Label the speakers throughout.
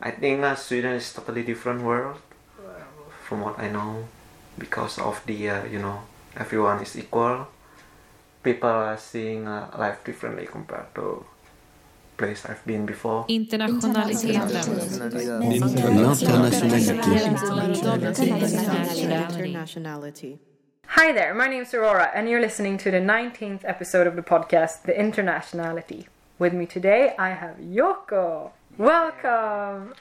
Speaker 1: I think uh, Sweden is totally different world from what I know because of the uh, you know everyone is equal. People are seeing uh, life differently compared to place I've been before.
Speaker 2: Internationaliteten.
Speaker 3: Internationality.
Speaker 4: Hi there, my name's Aurora, and you're listening to the 19th episode of the podcast, The Internationality. With me today, I have Yoko. Welcome!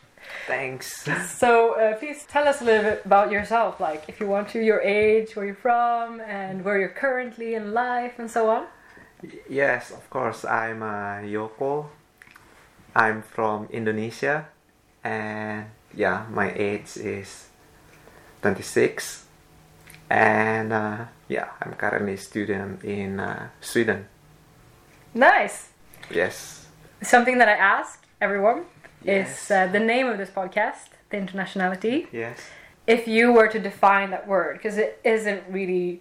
Speaker 1: Thanks.
Speaker 4: So, uh, please tell us a little bit about yourself, like if you want to, your age, where you're from, and where you're currently in life, and so on.
Speaker 1: yes, of course. I'm uh, Yoko. I'm from Indonesia, and yeah, my age is 26, and uh, yeah, I'm currently a student in uh, Sweden.
Speaker 4: Nice!
Speaker 1: Yes.
Speaker 4: Something that I ask everyone
Speaker 1: Yes.
Speaker 4: is uh, the name of this podcast, The Internationality.
Speaker 1: Yes.
Speaker 4: if you were to define that word, because it isn't really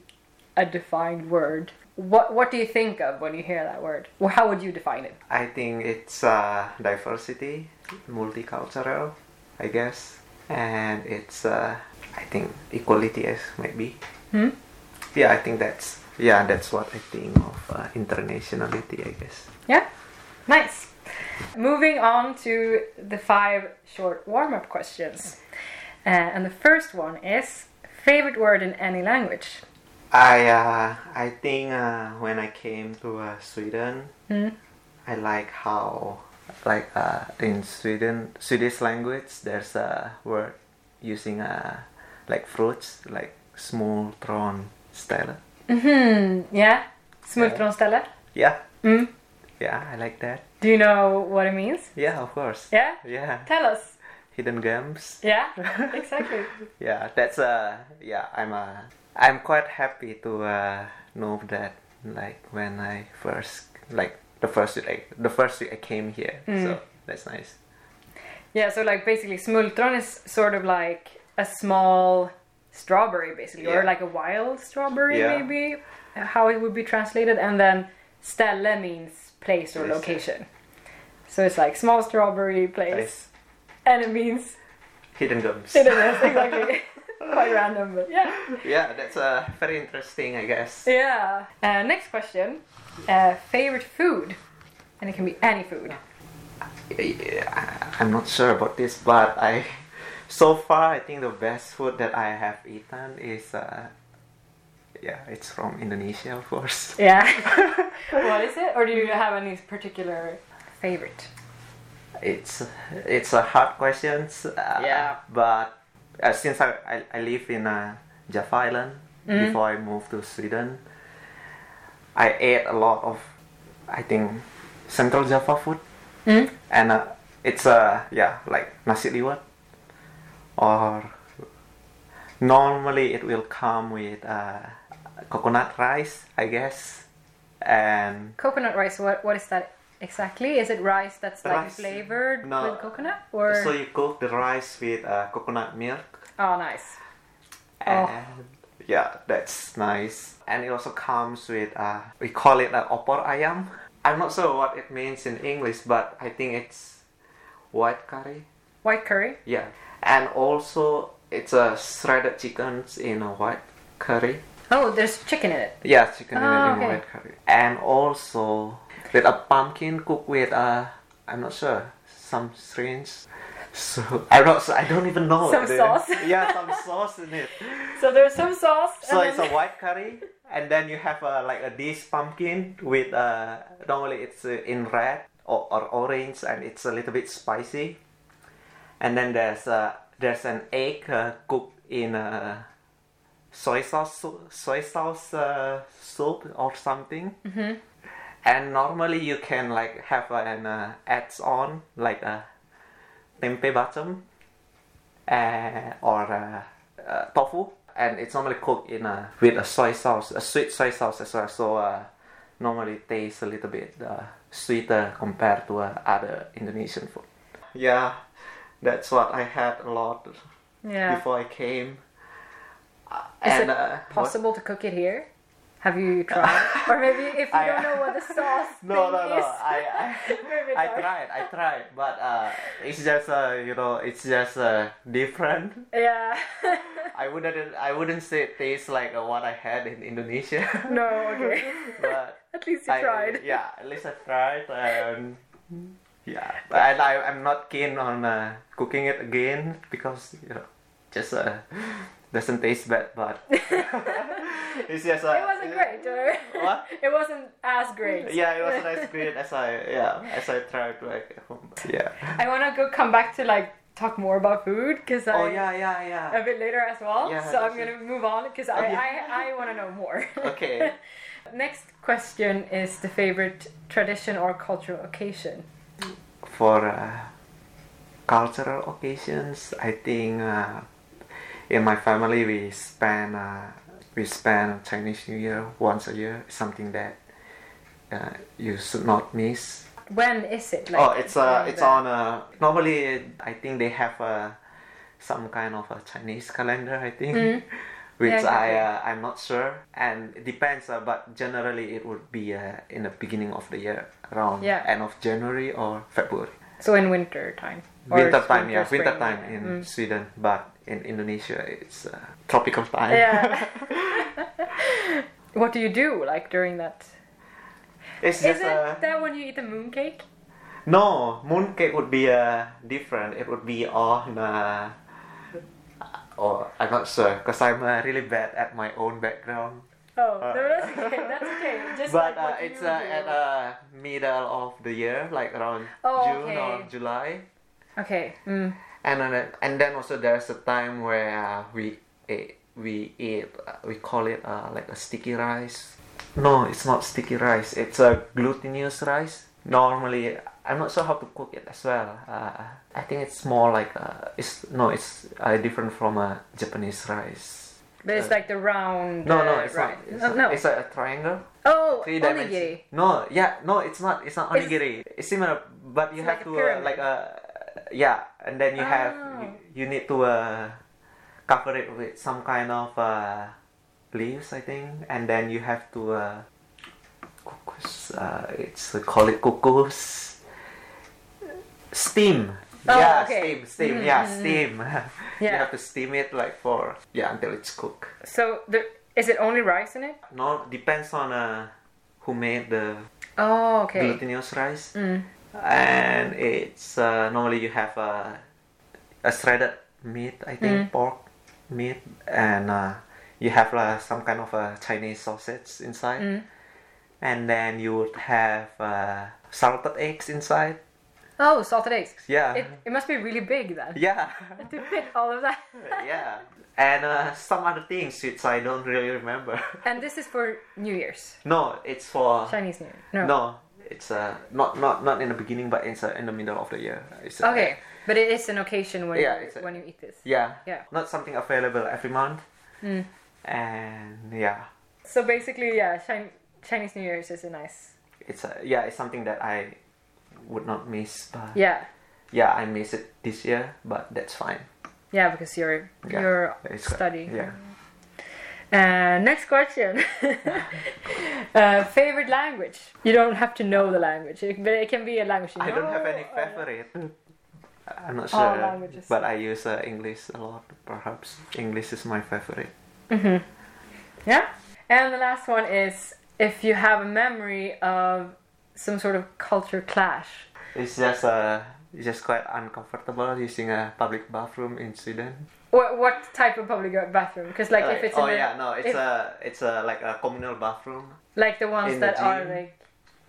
Speaker 4: a defined word, what what do you think of when you hear that word? Well, how would you define it?
Speaker 1: I think it's uh, diversity, multicultural, I guess, and it's uh, I think equality as maybe. Yeah, I think that's yeah that's what I think of uh, internationality. I guess.
Speaker 4: Yeah, nice. Moving on to the five short warm up questions, uh, and the first one is favorite word in any language.
Speaker 1: I uh, I think uh, when I came to uh, Sweden, I like how like uh, in Sweden Swedish language there's a word using uh, like fruits like small prawn style.
Speaker 4: Hmm. Yeah. Smultronställe.
Speaker 1: Yeah. Yeah, I like that.
Speaker 4: Mm. Do you know what it means?
Speaker 1: Yeah, of course.
Speaker 4: Yeah.
Speaker 1: Yeah.
Speaker 4: Tell us.
Speaker 1: Hidden gems.
Speaker 4: Yeah. Exactly.
Speaker 1: Yeah, that's uh yeah, I'm uh I'm quite happy to uh know that like when I first like the first week I, the first week I came here. So that's nice.
Speaker 4: Yeah, so like basically smultron is sort of like a small strawberry basically or
Speaker 1: Yeah.
Speaker 4: like a wild strawberry
Speaker 1: Yeah.
Speaker 4: maybe uh, how it would be translated and then stelle means place or
Speaker 1: Place.
Speaker 4: location. So it's like small strawberry place
Speaker 1: Nice.
Speaker 4: and it means
Speaker 1: Hidden gems.
Speaker 4: it is exactly quite random but yeah.
Speaker 1: yeah, that's uh very interesting I guess.
Speaker 4: Yeah. Uh, next question. Uh, favorite food. And it can be any food.
Speaker 1: Yeah, I'm not sure about this but I so far I think the best food that I have eaten is uh yeah, it's from Indonesia of course.
Speaker 4: Yeah. what is it? Or do you have any particular favorite?
Speaker 1: It's it's a hard question. Uh,
Speaker 4: Yeah.
Speaker 1: But uh, since I, I, I live in uh, Java Island
Speaker 4: Mm-hmm.
Speaker 1: before I moved to Sweden, I ate a lot of I think Central Java food,
Speaker 4: Mm-hmm.
Speaker 1: and uh, it's uh, yeah like nasi liwet, or normally it will come with uh, coconut rice, I guess, and
Speaker 4: Coconut rice. What what is that exactly? Is it rice that's like
Speaker 1: Rice.
Speaker 4: flavored
Speaker 1: No.
Speaker 4: with coconut or?
Speaker 1: So you cook the rice with uh, coconut milk,
Speaker 4: oh, nice. Oh.
Speaker 1: and yeah, that's nice. And it also comes with uh, we call it uh, opor ayam. I'm not sure what it means in English, but I think it's white curry.
Speaker 4: White curry.
Speaker 1: Yeah, and also it's a uh, shredded chickens in a white curry.
Speaker 4: Oh, there's chicken in it.
Speaker 1: Yeah, chicken in-
Speaker 4: Ah,
Speaker 1: in
Speaker 4: okay.
Speaker 1: white curry, and also with a pumpkin cooked with a I'm not sure some strange. So I'm not. su- I don't even know.
Speaker 4: Some
Speaker 1: the-
Speaker 4: sauce.
Speaker 1: Yeah, some sauce in it.
Speaker 4: So there's some sauce.
Speaker 1: So
Speaker 4: and
Speaker 1: it's a white curry, and then you have a, like a dish pumpkin with uh, normally it's uh, in red or, or orange, and it's a little bit spicy. And then there's uh, there's an egg uh, cooked in a soy sauce sou- soy sauce uh, soup or something. And normally you can like have an uh, adds on like a tempeh bottom uh, or uh, uh, tofu, and it's normally cooked in a with a soy sauce, a sweet soy sauce as well. So uh, normally tastes a little bit uh, sweeter compared to uh, other Indonesian food. Yeah, that's what I had a lot
Speaker 4: yeah.
Speaker 1: before I came.
Speaker 4: Is
Speaker 1: and,
Speaker 4: it
Speaker 1: uh, what-
Speaker 4: possible to cook it here? Have you tried? or maybe if you
Speaker 1: I-
Speaker 4: don't know what the sauce
Speaker 1: No, no,
Speaker 4: thing
Speaker 1: no.
Speaker 4: is,
Speaker 1: I,
Speaker 4: maybe
Speaker 1: I, I
Speaker 4: not.
Speaker 1: tried, I tried, but uh, it's just uh, you know, it's just uh, different.
Speaker 4: Yeah.
Speaker 1: I wouldn't, I wouldn't say it tastes like uh, what I had in Indonesia,
Speaker 4: no, okay.
Speaker 1: but
Speaker 4: At least you
Speaker 1: I,
Speaker 4: tried. Mm-hmm.
Speaker 1: Yeah, at least I tried, and yeah, and I, I'm not keen on uh, cooking it again because you know, just uh, doesn't taste bad. But it's just uh,
Speaker 4: It wasn't great. though.
Speaker 1: What?
Speaker 4: it wasn't as great.
Speaker 1: Yeah, it wasn't as great as I yeah as I tried back at home. Yeah.
Speaker 4: I want to go come back to like talk more about food because
Speaker 1: Oh
Speaker 4: I
Speaker 1: yeah, yeah, yeah.
Speaker 4: a bit later as well.
Speaker 1: Yeah,
Speaker 4: so I'm
Speaker 1: that's it.
Speaker 4: gonna move on because
Speaker 1: Okay.
Speaker 4: I, I, I want to know more.
Speaker 1: Okay.
Speaker 4: Next question is the favorite tradition or cultural occasion.
Speaker 1: For uh, cultural occasions, I think uh, in my family we spend uh, we spend Chinese New Year once a year. Something that uh, you should not miss.
Speaker 4: When is it?
Speaker 1: oh, it's uh,
Speaker 4: when
Speaker 1: it's
Speaker 4: the-
Speaker 1: on uh, normally I think they have uh, some kind of a Chinese calendar. I think. Which
Speaker 4: Mm-hmm. Yeah,
Speaker 1: I
Speaker 4: exactly.
Speaker 1: uh, I'm not sure, and it depends. Uh, but generally, it would be uh, in the beginning of the year, around
Speaker 4: Yeah.
Speaker 1: end of January or February.
Speaker 4: So in winter time. Or
Speaker 1: Winter
Speaker 4: spring
Speaker 1: time,
Speaker 4: or
Speaker 1: yeah,
Speaker 4: spring, Mm.
Speaker 1: winter time in Sweden, but in Indonesia, it's uh, tropical time.
Speaker 4: Yeah. what do you do like during that?
Speaker 1: it's
Speaker 4: Is
Speaker 1: just
Speaker 4: it
Speaker 1: uh,
Speaker 4: that when you eat the moon cake?
Speaker 1: No, mooncake would be uh, different. It would be on. Uh, or I'm not sure because I'm uh, really bad at my own background.
Speaker 4: Oh, no, that's okay. That's okay. Just
Speaker 1: Uh, But
Speaker 4: like what
Speaker 1: uh,
Speaker 4: you
Speaker 1: it's uh, at
Speaker 4: do.
Speaker 1: uh, middle of the year, like around
Speaker 4: Oh,
Speaker 1: June
Speaker 4: okay.
Speaker 1: or July,
Speaker 4: okay. Mm.
Speaker 1: and then, and then also there's a time where uh, we eh, we eat uh, we call it uh, like a sticky rice. No, it's not sticky rice. It's a glutinous rice. Normally, I'm not sure how to cook it as well. Uh, I think it's more like uh, it's no, it's uh, different from a Japanese rice.
Speaker 4: But it's like the round.
Speaker 1: uh, No,
Speaker 4: uh,
Speaker 1: no, it's
Speaker 4: right.
Speaker 1: not. It's,
Speaker 4: no,
Speaker 1: not-
Speaker 4: no.
Speaker 1: it's a, a triangle.
Speaker 4: oh,
Speaker 1: three dimensions.
Speaker 4: onigiri.
Speaker 1: No, yeah, no, it's not. It's not
Speaker 4: It's-
Speaker 1: onigiri. It's, similar, but you
Speaker 4: It's
Speaker 1: have
Speaker 4: like a
Speaker 1: to uh,
Speaker 4: pyramid. Oh.
Speaker 1: like a yeah, and then you have you, you need to uh, cover it with some kind of uh, leaves, I think, and then you have to uh, kukus. Uh, it's call it kukus. Steam.
Speaker 4: Oh,
Speaker 1: yeah,
Speaker 4: okay.
Speaker 1: steam,
Speaker 4: mm,
Speaker 1: steam, yeah, steam. you
Speaker 4: Yeah.
Speaker 1: have to steam it like for yeah until it's cooked.
Speaker 4: So there, is it only rice in it?
Speaker 1: No, depends on uh, who made the
Speaker 4: Oh, okay.
Speaker 1: glutinous rice,
Speaker 4: Mm.
Speaker 1: and it's uh, normally you have a, a shredded meat, I
Speaker 4: Mm.
Speaker 1: think pork meat, and uh, you have uh, some kind of a Chinese sausage inside,
Speaker 4: Mm.
Speaker 1: and then you would have uh, salted eggs inside.
Speaker 4: Oh, salted eggs.
Speaker 1: Yeah,
Speaker 4: It, it must be really big then
Speaker 1: Uh-huh. yeah,
Speaker 4: to fit all of that.
Speaker 1: yeah, and uh, some other things which I don't really remember.
Speaker 4: And this is for New Year's,
Speaker 1: no, it's for
Speaker 4: Chinese New Year. No.
Speaker 1: no. It's uh, not not not in the beginning, but it's uh, in the middle of the year. It's, uh,
Speaker 4: Okay, but it is an occasion when
Speaker 1: Yeah,
Speaker 4: you,
Speaker 1: it's a-
Speaker 4: when you eat this.
Speaker 1: Yeah.
Speaker 4: Yeah.
Speaker 1: Not something available every month.
Speaker 4: Hmm.
Speaker 1: And yeah,
Speaker 4: So basically, yeah, Chin- Chinese New Year's is a nice.
Speaker 1: it's a, yeah, it's something that I would not miss. But yeah.
Speaker 4: Yeah,
Speaker 1: I miss it this year, but that's fine.
Speaker 4: yeah, because you're
Speaker 1: Yeah,
Speaker 4: you're
Speaker 1: it's fine.
Speaker 4: studying.
Speaker 1: Yeah.
Speaker 4: Uh, next question. uh, favorite language? You don't have to know the language, it- but it can be a language you
Speaker 1: I
Speaker 4: know.
Speaker 1: don't have any
Speaker 4: or-
Speaker 1: favorite. I'm not
Speaker 4: Oh, All
Speaker 1: sure,
Speaker 4: languages.
Speaker 1: but I use uh, English a lot. Perhaps English is my favorite.
Speaker 4: Yeah. And the last one is if you have a memory of some sort of culture clash.
Speaker 1: It's just uh, it's just quite uncomfortable using a public bathroom in Sweden.
Speaker 4: What, what type of public bathroom? Because like if
Speaker 1: Like,
Speaker 4: it's
Speaker 1: oh
Speaker 4: in the,
Speaker 1: yeah, no, it's
Speaker 4: if-
Speaker 1: a it's a like a communal bathroom.
Speaker 4: like the ones
Speaker 1: in the
Speaker 4: that are
Speaker 1: gym.
Speaker 4: like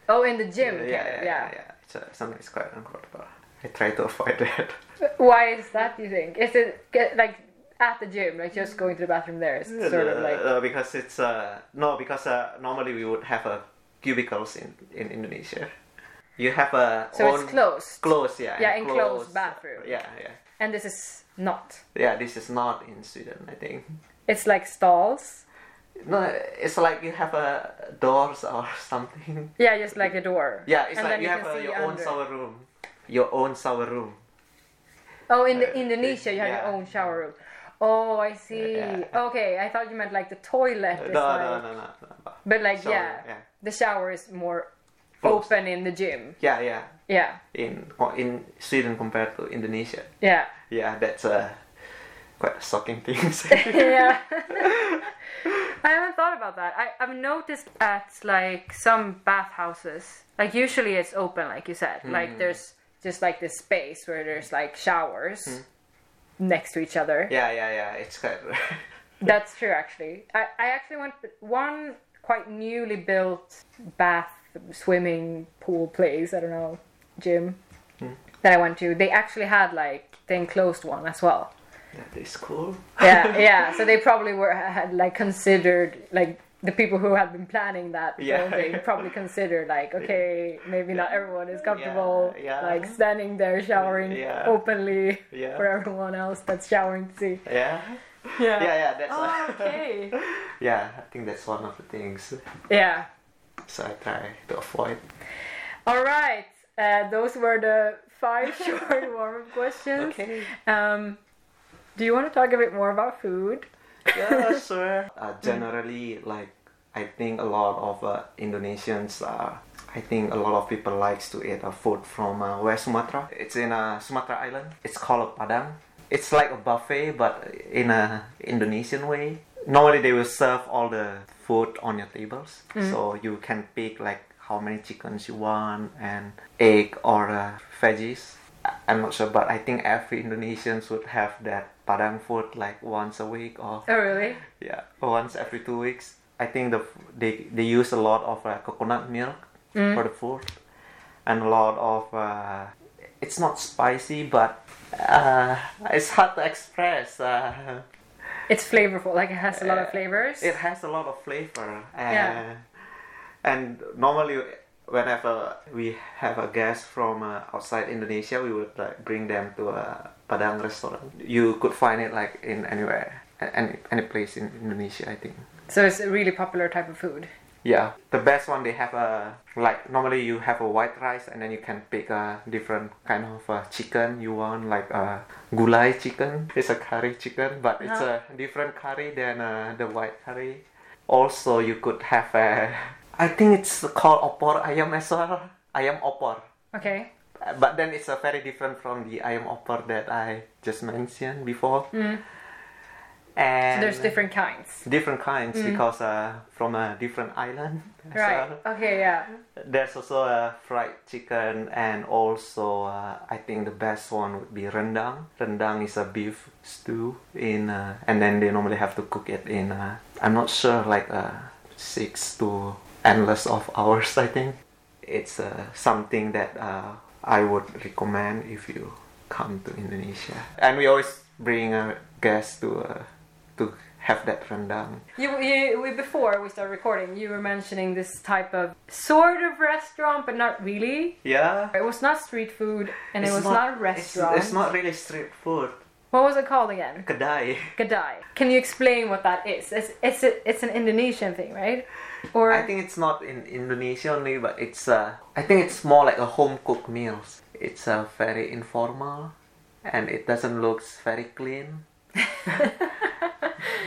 Speaker 4: oh in the
Speaker 1: Yeah,
Speaker 4: gym. kind
Speaker 1: yeah, yeah.
Speaker 4: of,
Speaker 1: yeah, yeah. It's uh, something that's quite uncomfortable. I try to avoid that.
Speaker 4: Why is that? You think is it get, like at the gym? Like just going to the bathroom there is sort of like
Speaker 1: Uh, because it's uh, no, because uh, normally we would have uh, cubicles in in Indonesia. You have a
Speaker 4: so it's closed.
Speaker 1: Close, yeah.
Speaker 4: Yeah,
Speaker 1: enclosed,
Speaker 4: enclosed bathroom.
Speaker 1: Yeah, yeah,
Speaker 4: and this is not.
Speaker 1: yeah. This is not in Sweden, I think.
Speaker 4: It's like stalls.
Speaker 1: No, it's like you have a doors or something.
Speaker 4: Yeah, just like a door.
Speaker 1: Yeah, it's
Speaker 4: And
Speaker 1: like you,
Speaker 4: then
Speaker 1: have
Speaker 4: can
Speaker 1: uh,
Speaker 4: see
Speaker 1: your own
Speaker 4: under.
Speaker 1: shower room. Your own shower room.
Speaker 4: Oh, in the
Speaker 1: Uh,
Speaker 4: Indonesia, you have
Speaker 1: yeah.
Speaker 4: your own shower room. Oh, I see.
Speaker 1: Yeah.
Speaker 4: Okay, I thought you meant like the toilet.
Speaker 1: No,
Speaker 4: is
Speaker 1: no,
Speaker 4: like-
Speaker 1: no, no, no.
Speaker 4: But like,
Speaker 1: Shower,
Speaker 4: yeah,
Speaker 1: yeah.
Speaker 4: the shower is more
Speaker 1: Closed.
Speaker 4: open in the gym.
Speaker 1: Yeah, yeah.
Speaker 4: Yeah,
Speaker 1: In in Sweden compared to Indonesia.
Speaker 4: yeah,
Speaker 1: Yeah, that's a quite a shocking thing. to say.
Speaker 4: yeah. I haven't thought about that. I, I've noticed at like some bathhouses, like usually it's open, like you said. Like
Speaker 1: Hmm.
Speaker 4: there's just like this space where there's like showers
Speaker 1: Hmm.
Speaker 4: next to each other.
Speaker 1: yeah, yeah, yeah. It's quite.
Speaker 4: That's true, actually. I, I actually went one quite newly built bath, swimming pool place, I don't know, gym
Speaker 1: Hmm.
Speaker 4: that I went to. They actually had like the enclosed one as well.
Speaker 1: that is cool.
Speaker 4: Yeah, yeah. So they probably were had like considered like the people who had been planning that
Speaker 1: Yeah.
Speaker 4: building probably considered like okay maybe not everyone is comfortable
Speaker 1: yeah.
Speaker 4: like standing there showering
Speaker 1: Yeah.
Speaker 4: openly
Speaker 1: Yeah.
Speaker 4: for everyone else that's showering to see
Speaker 1: Yeah.
Speaker 4: yeah
Speaker 1: Yeah, yeah. That's.
Speaker 4: Oh,
Speaker 1: a-
Speaker 4: okay
Speaker 1: yeah, I think that's one of the things.
Speaker 4: yeah
Speaker 1: So I try to avoid.
Speaker 4: All right. Uh, those were the five short warm-up questions. Um, do you want to talk a bit more about food?
Speaker 1: yeah, sure. Uh, generally, like I think a lot of uh, Indonesians are. I think a lot of people likes to eat uh, food from uh, West Sumatra. It's in uh, Sumatra Island. It's called Padang. It's like a buffet, but in a Indonesian way. Normally, they will serve all the food on your tables, so you can pick like how many chickens you want and egg or uh, veggies. I- I'm not sure, but I think every Indonesians would have that Padang food like once a week or
Speaker 4: Oh, really?
Speaker 1: yeah, once every two weeks. I think the they they use a lot of uh, coconut milk for the food, and a lot of uh, it's not spicy, but uh, it's hard to express. Uh,
Speaker 4: It's flavorful. Like it has a lot of flavors.
Speaker 1: it has a lot of flavor. Uh,
Speaker 4: Yeah.
Speaker 1: And normally, whenever we have a guest from uh, outside Indonesia, we would like bring them to a Padang restaurant. You could find it like in anywhere, a- any any place in Indonesia, I think.
Speaker 4: So it's a really popular type of food.
Speaker 1: Yeah, the best one they have a like normally you have a white rice and then you can pick a different kind of uh, chicken you want like a gulai chicken. It's a curry chicken, but it's
Speaker 4: Uh-huh.
Speaker 1: a different curry than uh, the white curry. Also, you could have a I think it's called opor ayam as well. Ayam opor.
Speaker 4: Okay.
Speaker 1: Uh, But then it's a very different from the ayam opor that I just mentioned before. And
Speaker 4: Mm. So there's different kinds.
Speaker 1: different kinds because uh, from a different island. as
Speaker 4: Right.
Speaker 1: well.
Speaker 4: Okay. Yeah.
Speaker 1: There's also a fried chicken and also uh, I think the best one would be rendang. Rendang is a beef stew in uh, and then they normally have to cook it in uh, I'm not sure like uh, six to endless of hours I think. It's uh, something that uh, I would recommend if you come to Indonesia. And we always bring a guest to uh, to have that rendang.
Speaker 4: You, you, we, before we started recording, you were mentioning this type of sort of restaurant, but not really.
Speaker 1: Yeah.
Speaker 4: It was not street food, and it was not, a
Speaker 1: it's-
Speaker 4: restaurant.
Speaker 1: it's not really street food.
Speaker 4: What was it called again?
Speaker 1: Kedai.
Speaker 4: Gadai. Can you explain what that is? It's it's a, it's an Indonesian thing, right? Or
Speaker 1: I think it's not in Indonesia only, but it's uh, I think it's more like a home cooked meals. It's uh, very informal, and it doesn't look very clean.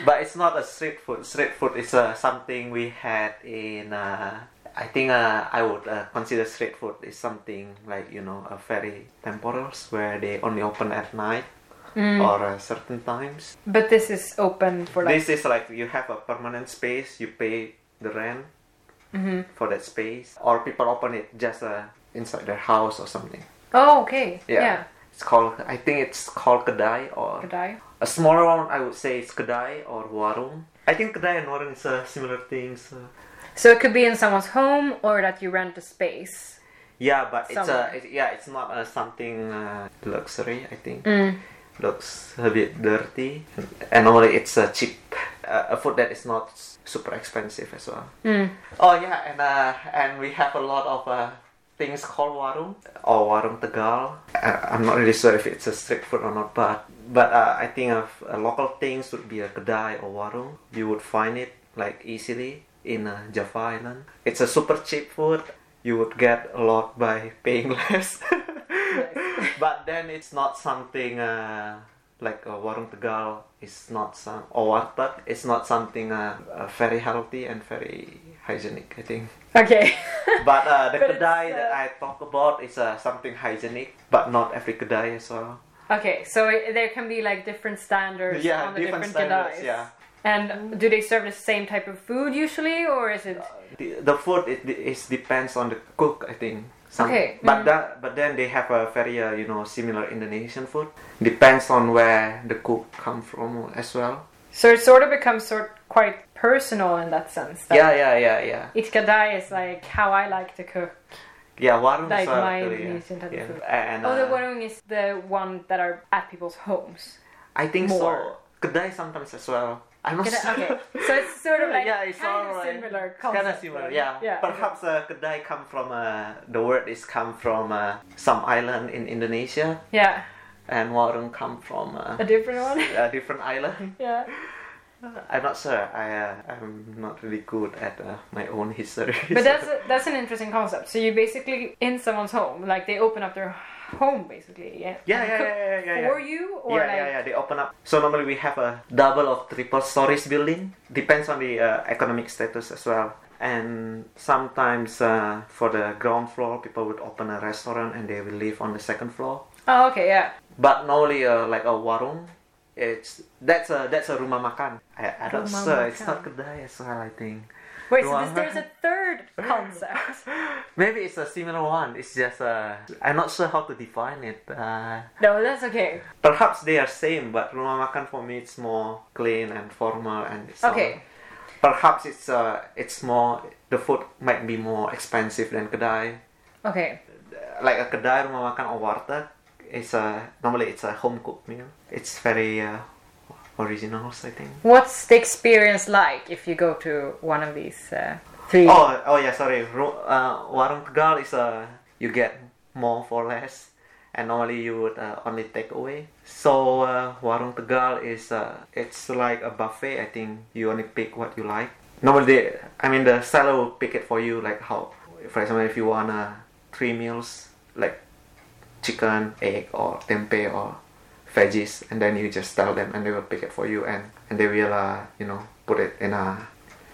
Speaker 1: but it's not a street food. Street food is uh, something we had in. Uh, I think uh, I would uh, consider street food is something like you know a very temporals where they only open at night or uh, certain times.
Speaker 4: but this is open for like
Speaker 1: This is like you have a permanent space, you pay the rent
Speaker 4: Mm-hmm.
Speaker 1: for that space, or people open it just uh, inside their house or something.
Speaker 4: Oh, okay.
Speaker 1: Yeah.
Speaker 4: Yeah.
Speaker 1: It's called, I think it's called Kedai or
Speaker 4: Gadai.
Speaker 1: a smaller one, I would say it's Kedai or Warung. I think Kedai and Warung is uh, similar things. uh,
Speaker 4: So it could be in someone's home or that you rent a space.
Speaker 1: yeah, but it's uh,
Speaker 4: Somewhere.
Speaker 1: it, yeah, it's not uh, something uh, luxury, I think.
Speaker 4: Mm.
Speaker 1: Looks a bit dirty, and normally it's uh, cheap, uh, a food that is not s- super expensive as well. Oh yeah, and uh, and we have a lot of uh, things called warung or Oh, warung tegal. Uh, I'm not really sure if it's a street food or not, but but uh, I think of uh, local things would be a kedai or warung. You would find it like easily in uh, Java Island. It's a super cheap food. You would get a lot by paying less. but then it's not something uh, like uh, warung tegal is not some or warteg is not something uh, uh, very healthy and very hygienic. I think.
Speaker 4: Okay.
Speaker 1: But uh, the
Speaker 4: But it's,
Speaker 1: kedai
Speaker 4: uh,
Speaker 1: that I talk about is uh, something hygienic, but not every kedai as well.
Speaker 4: okay, so it, there can be like different standards
Speaker 1: Yeah,
Speaker 4: on the
Speaker 1: different
Speaker 4: different,
Speaker 1: standards,
Speaker 4: kedais.
Speaker 1: yeah.
Speaker 4: And do they serve the same type of food usually, or is
Speaker 1: Uh,
Speaker 4: it?
Speaker 1: The, the food it, it depends on the cook, I think. Some,
Speaker 4: Okay, mm.
Speaker 1: But that, but then they have a very uh, you know similar Indonesian food. Depends on where the cook come from as well.
Speaker 4: So it sort of becomes sort quite personal in that sense. That
Speaker 1: Yeah, yeah, yeah, yeah.
Speaker 4: Each kadai is like how I like to cook.
Speaker 1: Yeah, warung as
Speaker 4: Like
Speaker 1: well,
Speaker 4: my
Speaker 1: actually,
Speaker 4: Indonesian type of
Speaker 1: yeah.
Speaker 4: food.
Speaker 1: And,
Speaker 4: Oh, the
Speaker 1: uh,
Speaker 4: warung is the one that are at people's homes.
Speaker 1: I think
Speaker 4: more.
Speaker 1: so. Kedai sometimes as well. I'm not
Speaker 4: Kedai-
Speaker 1: sure.
Speaker 4: okay. So it's sort of like
Speaker 1: yeah, it's
Speaker 4: kind
Speaker 1: all
Speaker 4: of
Speaker 1: right.
Speaker 4: similar
Speaker 1: It's
Speaker 4: concept,
Speaker 1: Kind of similar,
Speaker 4: right?
Speaker 1: yeah.
Speaker 4: Yeah.
Speaker 1: Perhaps uh, kedai come from uh, the word is come from uh, some island in Indonesia,
Speaker 4: Yeah,
Speaker 1: and warung come from uh,
Speaker 4: a different one.
Speaker 1: a different island.
Speaker 4: yeah.
Speaker 1: I'm not sure. I uh, I'm not really good at uh, my own history.
Speaker 4: But that's a, that's an interesting concept. So you basically in someone's home, like they open up their home basically. Yeah.
Speaker 1: yeah,
Speaker 4: and
Speaker 1: yeah,
Speaker 4: cook
Speaker 1: yeah, yeah, yeah, yeah.
Speaker 4: For you or
Speaker 1: yeah,
Speaker 4: like
Speaker 1: yeah, yeah. They open up. So normally we have a double or triple stories building. Depends on the uh, economic status as well. And sometimes uh, for the ground floor, people would open a restaurant and they will live on the second floor.
Speaker 4: Oh, okay, yeah.
Speaker 1: But normally, uh, like a warung, it's that's a that's a rumah makan. I, I don't
Speaker 3: Rumah
Speaker 1: sure. It's
Speaker 3: makan.
Speaker 1: not kedai as well. I think
Speaker 4: Wait, so
Speaker 1: Well,
Speaker 4: this, there's a third concept.
Speaker 1: maybe it's a similar one. It's just uh, I'm not sure how to define it. Uh,
Speaker 4: no, that's okay.
Speaker 1: perhaps they are same, but rumah makan for me it's more clean and formal and it's
Speaker 4: Okay.
Speaker 1: all- Perhaps it's uh, it's more the food might be more expensive than kedai.
Speaker 4: Okay.
Speaker 1: Like a kedai rumah makan or warteg, it's a normally it's a home cooked meal. It's very uh, originals, I think.
Speaker 4: What's the experience like if you go to one of these uh, three?
Speaker 1: Oh, oh yeah, sorry. Ru- uh, warung tegal is uh, you get more for less, and normally you would uh, only take away. So uh, warung tegal is uh, it's like a buffet. I think you only pick what you like. Normally, they, I mean, the seller will pick it for you. Like how, for example, if you want uh, three meals, like chicken, egg, or tempeh, or veggies, and then you just tell them, and they will pick it for you, and and they will uh, you know put it in a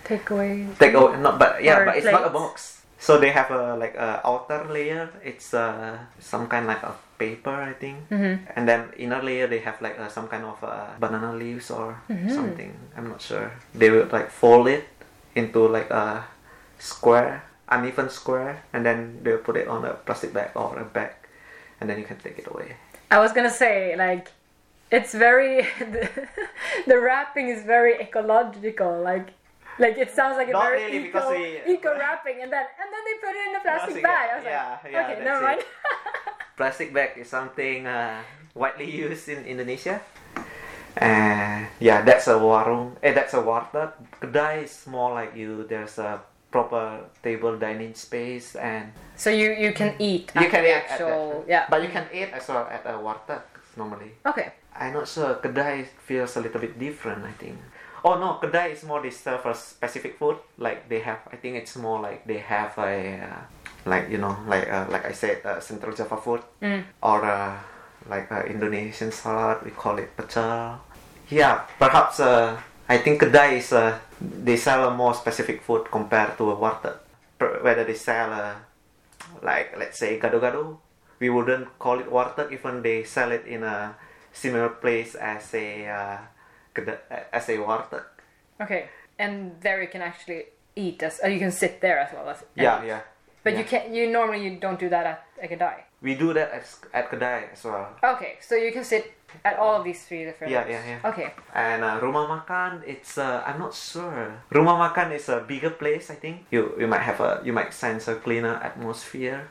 Speaker 4: Takeaway.
Speaker 1: take over not but yeah
Speaker 4: Or
Speaker 1: but it's not a
Speaker 4: plates.
Speaker 1: box so they have a like a outer layer it's uh, some kind like a paper i think
Speaker 4: Mm-hmm.
Speaker 1: and then inner layer they have like uh, some kind of uh, banana leaves or
Speaker 4: Mm-hmm.
Speaker 1: something i'm not sure they would like fold it into like a square uneven square and then they'll put it on a plastic bag or a bag and then you can take it away
Speaker 4: I was gonna say like it's very the, wrapping is very ecological like like it sounds like a
Speaker 1: Not
Speaker 4: very
Speaker 1: really,
Speaker 4: eco
Speaker 1: because we-
Speaker 4: eco wrapping and then and then they put it in a plastic
Speaker 1: Plastic,
Speaker 4: bag. I was
Speaker 1: yeah,
Speaker 4: like,
Speaker 1: yeah,
Speaker 4: okay,
Speaker 1: that's
Speaker 4: never
Speaker 1: it.
Speaker 4: mind.
Speaker 1: plastic bag is something uh, widely used in Indonesia. And yeah, that's a warung. Eh, that's a warteg. Kedai is more like you. There's a proper table dining space, and
Speaker 4: so you you can eat at
Speaker 1: you can
Speaker 4: the
Speaker 1: eat at that.
Speaker 4: actual yeah.
Speaker 1: But you can eat as well at a warteg normally.
Speaker 4: okay.
Speaker 1: I'm not sure. Kedai feels a little bit different. I think. Oh no, kedai is more they serve a specific food. Like they have. I think it's more like they have a uh, like you know like uh, like I said uh, Central Java food or uh, like uh, Indonesian salad. We call it pecel. Yeah, perhaps uh, I think kedai is uh, they sell a more specific food compared to a warteg. Per- Whether they sell uh, a like let's say gado-gado we wouldn't call it warteg even they sell it in a similar place as a uh, keda- as a warteg
Speaker 4: Okay. And there you can actually eat as or you can sit there as well as
Speaker 1: yeah yeah
Speaker 4: But
Speaker 1: yeah.
Speaker 4: you can you normally you don't do that at a kedai.
Speaker 1: we do that at, at kedai as well
Speaker 4: Okay, so you can sit at all of these three different
Speaker 1: Yeah, yeah, yeah.
Speaker 4: Okay.
Speaker 1: and uh, rumah makan it's uh, i'm not sure rumah makan is a bigger place i think you you might have a you might sense a cleaner atmosphere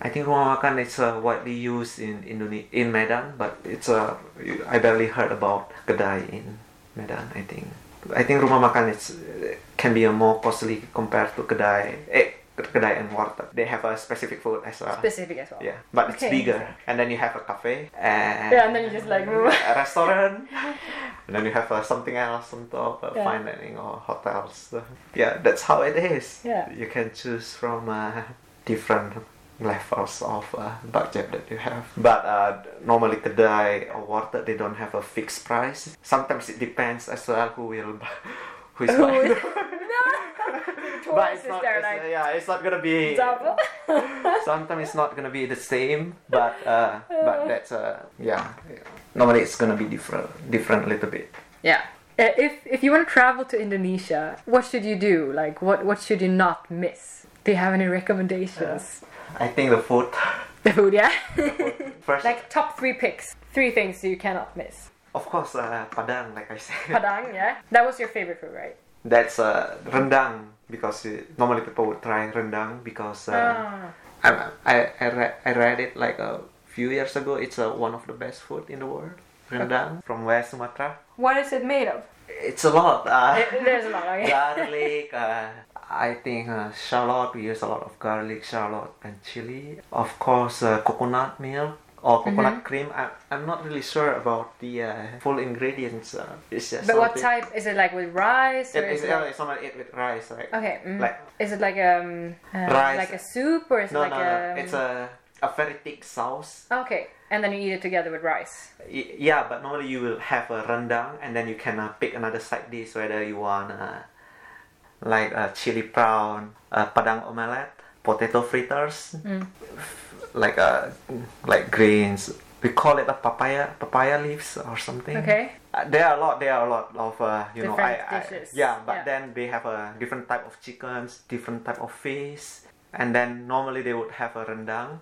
Speaker 1: i think rumah makan is uh, widely used in Indone- in medan but it's uh, you- i barely heard about kedai in medan i think i think rumah makan it's, uh, can be a more costly compared to kedai eh, kedai and warteg they have a specific food as well
Speaker 4: Specific as well.
Speaker 1: yeah but it's
Speaker 4: Okay.
Speaker 1: bigger and then you have a cafe and
Speaker 4: Yeah, and then you just like
Speaker 1: a restaurant, and then you have uh, something else on top, uh,
Speaker 4: Yeah.
Speaker 1: fine dining or hotels. yeah, that's how it is.
Speaker 4: Yeah.
Speaker 1: You can choose from uh, different leftovers of uh, dark chap that you have. But uh, normally kedai awarded they don't have a fixed price. Sometimes it depends as well who will buy, who is buying.
Speaker 4: would-
Speaker 1: them. but
Speaker 4: Taurus
Speaker 1: it's
Speaker 4: is
Speaker 1: not,
Speaker 4: there
Speaker 1: it's,
Speaker 4: like
Speaker 1: yeah, it's not gonna be.
Speaker 4: double.
Speaker 1: Sometimes it's not gonna be the same, but uh, but that's uh, yeah. Normally it's gonna be different, different a little bit.
Speaker 4: Yeah. Uh, If if you want to travel to Indonesia, what should you do? Like what what should you not miss? Do you have any recommendations?
Speaker 1: I think the food
Speaker 4: The food, yeah.
Speaker 1: first,
Speaker 4: like top three picks, three things you cannot miss.
Speaker 1: of course, uh, padang, like I said.
Speaker 4: Padang, yeah. That was your favorite food, right?
Speaker 1: That's uh, rendang because uh, normally people would try rendang because. Uh,
Speaker 4: Ah.
Speaker 1: I I I, re- I read it like a few years ago. It's uh, one of the best food in the world. Rendang from West Sumatra.
Speaker 4: What is it made of?
Speaker 1: It's a lot. Uh,
Speaker 4: There's a lot. Okay.
Speaker 1: garlic. Uh, I think uh, shallot. We use a lot of garlic, shallot, and chili. Of course, uh, coconut milk or
Speaker 4: Mm-hmm.
Speaker 1: coconut cream. I, I'm not really sure about the uh, full ingredients. Uh, it's just
Speaker 4: But what
Speaker 1: something-
Speaker 4: type is it? Like with rice?
Speaker 1: It,
Speaker 4: or
Speaker 1: it's,
Speaker 4: is it
Speaker 1: uh,
Speaker 4: like-
Speaker 1: it's someone eat with rice, right?
Speaker 4: okay. mm.
Speaker 1: Like
Speaker 4: is it like um uh,
Speaker 1: Rice.
Speaker 4: like a soup or is
Speaker 1: no,
Speaker 4: it like
Speaker 1: no,
Speaker 4: a? um,
Speaker 1: no. It's a a very thick sauce.
Speaker 4: Okay, and then you eat it together with rice.
Speaker 1: Y- Yeah, but normally you will have a rendang and then you can uh, pick another side dish whether you want uh, like a chili prawn, uh, padang omelette, potato fritters,
Speaker 4: Mm.
Speaker 1: like uh, like greens. We call it a papaya papaya leaves or something.
Speaker 4: Okay.
Speaker 1: Uh, there are a lot. There are a lot of uh, you know. I,
Speaker 4: Different
Speaker 1: I-
Speaker 4: dishes.
Speaker 1: yeah, but
Speaker 4: Yeah.
Speaker 1: then they have a different type of chickens, different type of fish, and then normally they would have a rendang.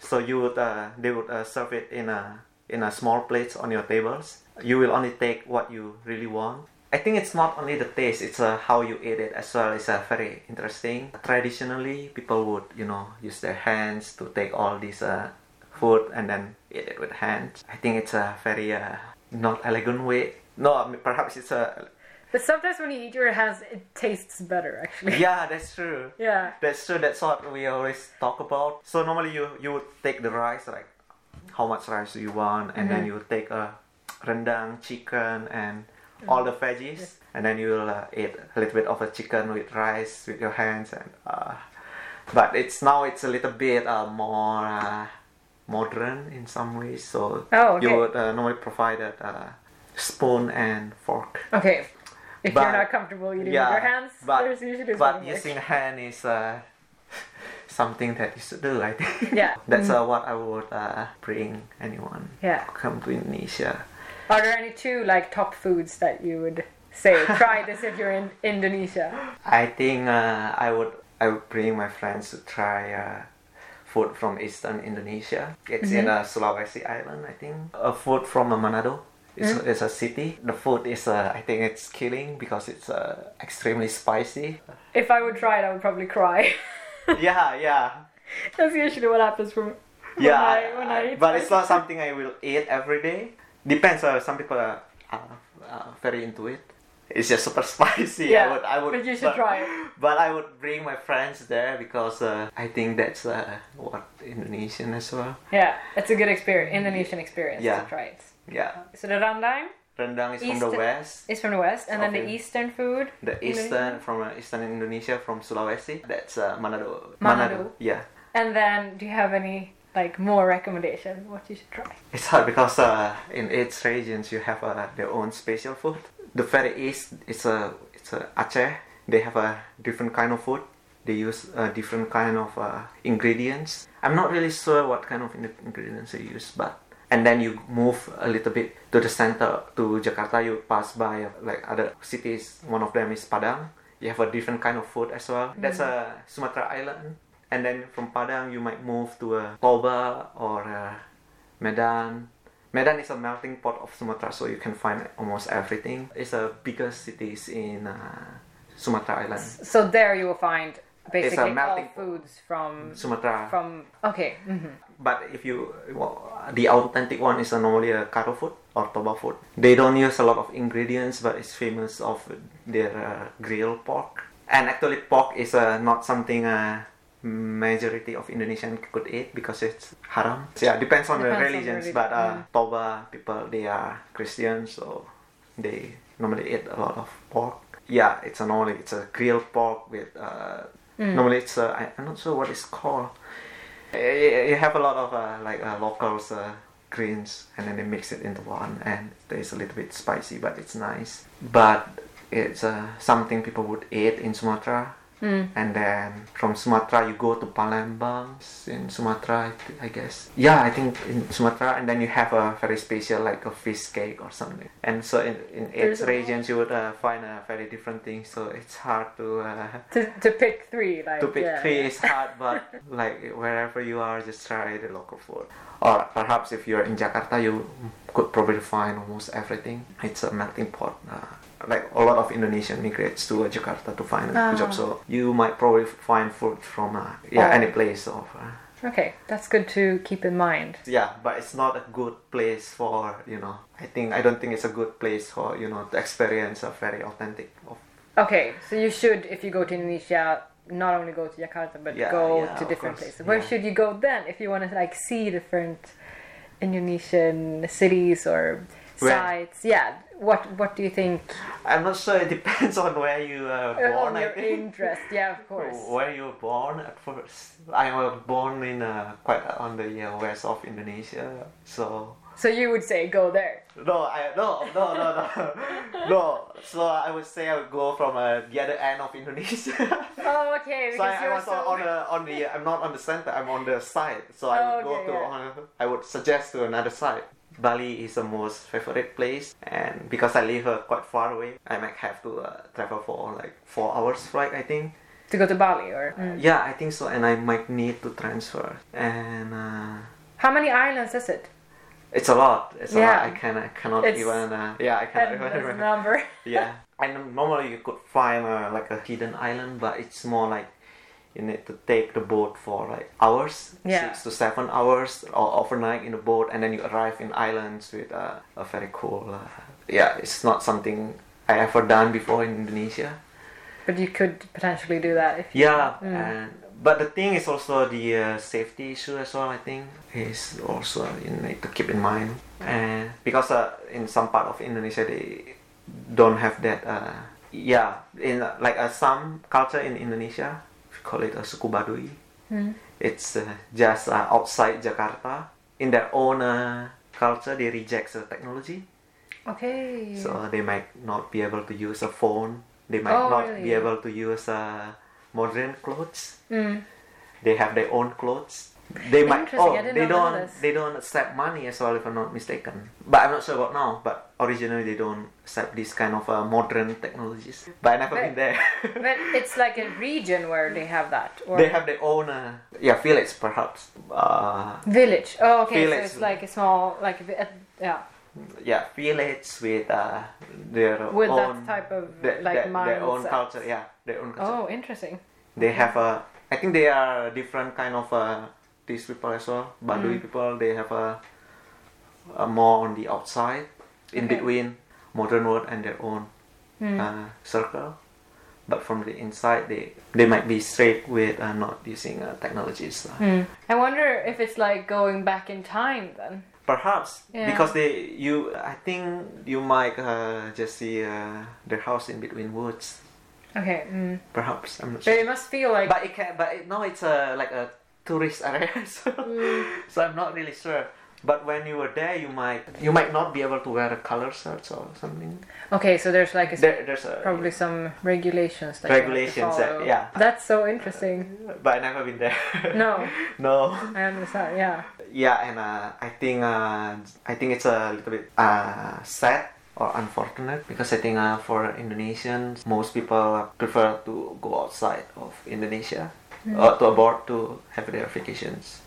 Speaker 1: So you would uh, they would uh, serve it in a in a small plates on your tables. You will only take what you really want. I think it's not only the taste; it's uh, how you eat it as well. It's uh, very interesting. Traditionally, people would you know use their hands to take all these uh, food and then eat it with hands. I think it's a very uh, not elegant way. No, I mean, perhaps it's a
Speaker 4: But sometimes when you eat your hands, it tastes better actually.
Speaker 1: yeah. That's true.
Speaker 4: Yeah.
Speaker 1: That's true. That's what we always talk about. So normally you you would take the rice, like how much rice do you want, and
Speaker 4: Mm-hmm.
Speaker 1: then you would take a rendang, chicken, and
Speaker 4: Mm-hmm.
Speaker 1: all the veggies, and then you'll uh, eat a little bit of a chicken with rice with your hands, and uh, but it's now it's a little bit uh, more uh, modern in some ways. So
Speaker 4: Oh, okay.
Speaker 1: you would uh, normally provide a uh, spoon and fork.
Speaker 4: Okay. If
Speaker 1: But-
Speaker 4: you're not comfortable eating with your hands, there's usually
Speaker 1: but
Speaker 4: some work.
Speaker 1: using hand is uh, something that you should do. I think.
Speaker 4: Yeah. Mm.
Speaker 1: That's uh, what I would uh, bring anyone
Speaker 4: Yeah.
Speaker 1: come to Indonesia.
Speaker 4: Are there any two like top foods that you would say try this if you're in Indonesia?
Speaker 1: I think uh, I would I would bring my friends to try uh, food from Eastern Indonesia. It's in uh,
Speaker 4: Mm-hmm.
Speaker 1: Sulawesi Island, I think. A food from uh, Manado. It's,
Speaker 4: Mm.
Speaker 1: it's a city. The food is, uh, I think, it's killing because it's uh, extremely spicy.
Speaker 4: If I would try it, I would probably cry.
Speaker 1: yeah, yeah.
Speaker 4: That's usually what happens from
Speaker 1: yeah,
Speaker 4: I- when I
Speaker 1: Ya,
Speaker 4: eat
Speaker 1: but it's not something I will eat every day. Depends. Uh, some people are, are, are very into it. It's just super spicy. I
Speaker 4: Yeah,
Speaker 1: would, I would,
Speaker 4: but you should try it.
Speaker 1: But I would bring my friends there because uh, I think that's uh, what Indonesian as well.
Speaker 4: yeah, it's a good experience, Indonesian experience
Speaker 1: Yeah.
Speaker 4: to try it.
Speaker 1: Yeah,
Speaker 4: So the rendang
Speaker 1: rendang is from the
Speaker 4: Eastern-
Speaker 1: west.
Speaker 4: is from the west, and then the
Speaker 1: Okay.
Speaker 4: eastern food.
Speaker 1: The eastern from uh, eastern Indonesia from Sulawesi. That's uh, Manado.
Speaker 4: Manado.
Speaker 1: Yeah,
Speaker 4: And then, do you have any like more recommendation what you should try?
Speaker 1: It's hard because uh, in each regions you have uh, their own special food. The very east it's a it's a Aceh. They have a different kind of food. They use uh, different kind of uh, ingredients. I'm not really sure what kind of in- ingredients they use, but and then you move a little bit to the center to Jakarta. You pass by uh, like other cities. One of them is Padang. You have a different kind of food as well. That's a Sumatra island. And then from Padang you might move to uh, Toba or uh, Medan. Medan is a melting pot of Sumatra, so you can find almost everything. It's the biggest cities in uh, Sumatra Island.
Speaker 4: So there you will find basically all
Speaker 1: melting pot.
Speaker 4: foods from
Speaker 1: Sumatra.
Speaker 4: from okay. mhm.
Speaker 1: But if you, well, the authentic one is normally a Karo food or Toba food. They don't use a lot of ingredients, but it's famous of their uh, grilled pork. And actually, pork is uh, not something uh, majority of Indonesian could eat because it's haram. Yeah, depends on the
Speaker 4: Depends on the
Speaker 1: religions.
Speaker 4: religion,
Speaker 1: but uh,
Speaker 4: yeah.
Speaker 1: Toba people, they are Christians, so they normally eat a lot of pork. Yeah, it's a
Speaker 4: Mm.
Speaker 1: normally it's a grilled pork with. Uh, Normally, it's uh, I, I'm not sure what it's called You you have a lot of uh, like uh, locals uh, greens, and then they mix it into one, and it's a little bit spicy, but it's nice. But it's uh, something people would eat in Sumatra,
Speaker 4: Hmm.
Speaker 1: and then from Sumatra you go to Palembang in Sumatra, I, th- I guess. Yeah, I think in Sumatra, and then you have a very special like a fish cake or something. And so in in eight
Speaker 4: There's a lot.
Speaker 1: regions you would uh, find a very different thing, so it's hard to. Uh,
Speaker 4: To, to pick three, like
Speaker 1: to pick
Speaker 4: yeah.
Speaker 1: three is hard, but like wherever you are, just try the local food. Or perhaps if you're in Jakarta, you could probably find almost everything. It's a melting pot. Uh, like a lot of Indonesian migrates to uh, Jakarta to find a job, so you might probably find food from uh, yeah
Speaker 4: Ah. Oh.
Speaker 1: any place of. Uh,
Speaker 4: Okay, that's good to keep in mind.
Speaker 1: yeah, but it's not a good place for you know. I think I don't think it's a good place for you know to experience a very authentic of
Speaker 4: Okay, so you should, if you go to Indonesia, not only go to Jakarta, but
Speaker 1: Yeah,
Speaker 4: go
Speaker 1: yeah,
Speaker 4: to
Speaker 1: of
Speaker 4: different
Speaker 1: course,
Speaker 4: places. Where
Speaker 1: yeah.
Speaker 4: should you go then, if you want to like see different Indonesian cities or
Speaker 1: Where?
Speaker 4: sites? Yeah, what what do you think?
Speaker 1: I'm not sure. It depends on where you uh,
Speaker 4: On
Speaker 1: born. I
Speaker 4: your
Speaker 1: think.
Speaker 4: interest, yeah, of course.
Speaker 1: Where you were born at first? I was born in uh, quite on the uh, west of Indonesia, so
Speaker 4: So you would say go there.
Speaker 1: no, I no no no no no. So I would say I would go from uh, the other end of Indonesia.
Speaker 4: Oh, okay.
Speaker 1: so I, I
Speaker 4: Because you're
Speaker 1: was
Speaker 4: so...
Speaker 1: on the on the I'm not on the center. I'm on the side. So I would
Speaker 4: Oh, okay,
Speaker 1: go to
Speaker 4: yeah.
Speaker 1: on, I would suggest to another side. Bali is the most favorite place, and because I live uh, quite far away, I might have to uh, travel for like four hours flight, I think.
Speaker 4: to go to Bali or Mm.
Speaker 1: Yeah, I think so, and I might need to transfer. And uh,
Speaker 4: how many islands is it?
Speaker 1: it's a lot. It's a
Speaker 4: Yeah.
Speaker 1: lot. I can I cannot
Speaker 4: It's
Speaker 1: even. Uh, yeah, I cannot
Speaker 4: And
Speaker 1: even
Speaker 4: the
Speaker 1: remember.
Speaker 4: number.
Speaker 1: Yeah, and normally you could find uh, like a hidden island, but it's more like you need to take the boat for like hours,
Speaker 4: Yeah.
Speaker 1: six to seven hours, or overnight in the boat, and then you arrive in islands with uh, a very cool. Uh, yeah, it's not something I ever done before in Indonesia.
Speaker 4: But you could potentially do that if you
Speaker 1: Yeah, and but the thing is also the uh, safety issue as well. I think is also you need to keep in mind, and because uh, in some part of Indonesia they don't have that. Uh, yeah, in uh, like uh, some culture in Indonesia, we call it a suku Baduy. It's uh, just uh, outside Jakarta. In their own uh, culture, they reject the technology.
Speaker 4: Okay.
Speaker 1: So they might not be able to use a phone. They might
Speaker 4: Oh,
Speaker 1: not be
Speaker 4: really?
Speaker 1: able to use uh, modern clothes.
Speaker 4: Mm.
Speaker 1: They have their own clothes. They might.
Speaker 4: Interesting,
Speaker 1: Oh,
Speaker 4: I did
Speaker 1: they
Speaker 4: not know
Speaker 1: don't.
Speaker 4: this.
Speaker 1: They don't accept money as well, if I'm not mistaken. But I'm not sure about now. But originally they don't accept this kind of uh, modern technologies. But I never
Speaker 4: But-
Speaker 1: been there.
Speaker 4: But it's like a region where they have that, or
Speaker 1: they have their own. Uh, yeah, village perhaps. Uh,
Speaker 4: village. Oh, okay.
Speaker 1: Village.
Speaker 4: So it's like a small, like a vi- uh, yeah,
Speaker 1: yeah, village with uh, their
Speaker 4: with
Speaker 1: own.
Speaker 4: that type of
Speaker 1: their-
Speaker 4: like
Speaker 1: their, their own
Speaker 4: mindset.
Speaker 1: culture. Yeah, their own culture.
Speaker 4: Oh, interesting.
Speaker 1: they have a i think they are different kind of uh, these people as well
Speaker 4: Mm-hmm.
Speaker 1: Baduy people they have a, a more on the outside in
Speaker 4: Okay. Mm.
Speaker 1: between modern world and their own uh, circle but from the inside they they might be straight with uh, not using uh, technologies uh,
Speaker 4: Mm. Hmm. I wonder if it's like going back in time then.
Speaker 1: perhaps
Speaker 4: Yeah.
Speaker 1: because they you i think you might uh, just see uh, their house in between woods
Speaker 4: Okay. Mm.
Speaker 1: perhaps i'm not
Speaker 4: But
Speaker 1: sure
Speaker 4: it must feel like
Speaker 1: But it can, but it, now it's a like a tourist area, so,
Speaker 4: Hmm.
Speaker 1: so I'm not really sure. But when you were there, you might you might not be able to wear a color shirt or something.
Speaker 4: okay. So there's like a,
Speaker 1: There, there's a
Speaker 4: probably some regulations that you have to
Speaker 1: Regulations that-
Speaker 4: follow.
Speaker 1: yeah.
Speaker 4: That's so interesting.
Speaker 1: but I never been there.
Speaker 4: No,
Speaker 1: no.
Speaker 4: I understand. Yeah.
Speaker 1: Yeah, and uh, I think uh, I think it's a little bit uh, sad or unfortunate because I think uh, for Indonesians, most people prefer to go outside of Indonesia
Speaker 4: Hmm.
Speaker 1: or to abroad to have their vacations.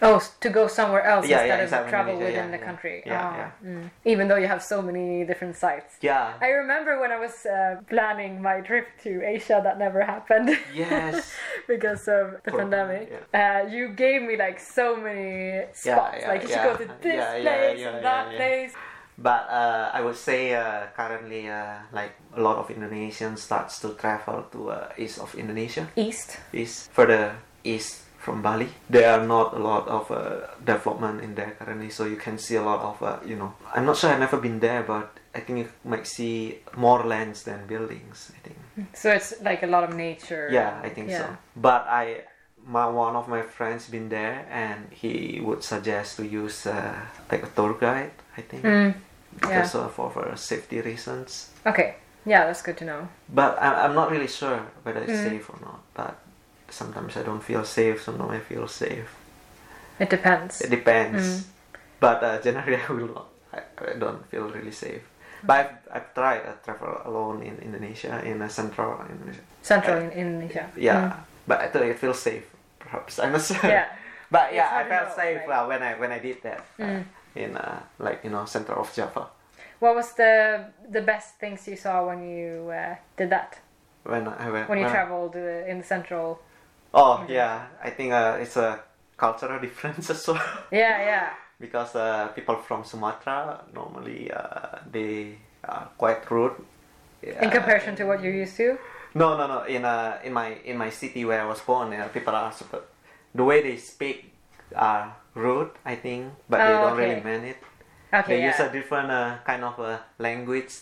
Speaker 4: Oh, s- to go somewhere else
Speaker 1: Yeah, yeah, exactly,
Speaker 4: instead of travel
Speaker 1: Indonesia,
Speaker 4: within
Speaker 1: yeah,
Speaker 4: the
Speaker 1: yeah.
Speaker 4: country.
Speaker 1: Yeah,
Speaker 4: Ah,
Speaker 1: yeah.
Speaker 4: mm. Even though you have so many different sites.
Speaker 1: Yeah.
Speaker 4: I remember when I was uh, planning my trip to Asia, that never happened
Speaker 1: yes.
Speaker 4: because of the
Speaker 1: Corona,
Speaker 4: pandemic. Uh, you gave me like so many spots.
Speaker 1: yeah,
Speaker 4: like you
Speaker 1: yeah.
Speaker 4: should go to this
Speaker 1: Yeah, yeah,
Speaker 4: place
Speaker 1: yeah,
Speaker 4: and
Speaker 1: yeah,
Speaker 4: that
Speaker 1: yeah.
Speaker 4: place.
Speaker 1: But uh, I would say uh, currently, uh, like a lot of Indonesians starts to travel to uh, east of Indonesia,
Speaker 4: East.
Speaker 1: east further east from Bali. There are not a lot of uh, development in there currently, so you can see a lot of uh, you know. I'm not sure. I've never been there, but I think you might see more lands than buildings. I think.
Speaker 4: So it's like a lot of nature.
Speaker 1: Yeah, I think so. But I my one of my friends been there and he would suggest to use uh, like a tour guide i think
Speaker 4: Mm, yeah.
Speaker 1: also for, for safety reasons
Speaker 4: Okay. Yeah, that's good to know.
Speaker 1: but I, i'm not really sure whether it's
Speaker 4: Mm.
Speaker 1: safe or not but sometimes i don't feel safe sometimes i feel safe
Speaker 4: It depends.
Speaker 1: it depends
Speaker 4: Mm.
Speaker 1: but uh, generally i will not I, I don't feel really safe but I've, I've tried I travel alone in Indonesia in uh, central Indonesia.
Speaker 4: Central in Indonesia.
Speaker 1: uh, Yeah, but I think I feel safe. Perhaps I'm not sure.
Speaker 4: Mm. Yeah.
Speaker 1: But
Speaker 4: It's
Speaker 1: yeah,
Speaker 4: hard
Speaker 1: I
Speaker 4: to
Speaker 1: felt
Speaker 4: know, Mm.
Speaker 1: safe
Speaker 4: right?
Speaker 1: uh, when I when I did that uh, in uh, like you know center of Java
Speaker 4: What was the the best things you saw when you uh, did that?
Speaker 1: when I went
Speaker 4: When you
Speaker 1: I-
Speaker 4: Mm. traveled uh, in the central?
Speaker 1: Oh yeah, I think uh, it's a cultural difference as well
Speaker 4: Yeah, yeah.
Speaker 1: because uh, people from Sumatra normally uh, they are quite rude.
Speaker 4: In
Speaker 1: Yeah.
Speaker 4: comparison to what you're used to.
Speaker 1: No, no, no. In uh, in my in my city where I was born, uh, people are super. The way they speak are rude, I think, but they
Speaker 4: Oh,
Speaker 1: don't
Speaker 4: okay.
Speaker 1: really mean it.
Speaker 4: Okay.
Speaker 1: they use a
Speaker 4: yeah.
Speaker 1: different uh, kind of uh, language,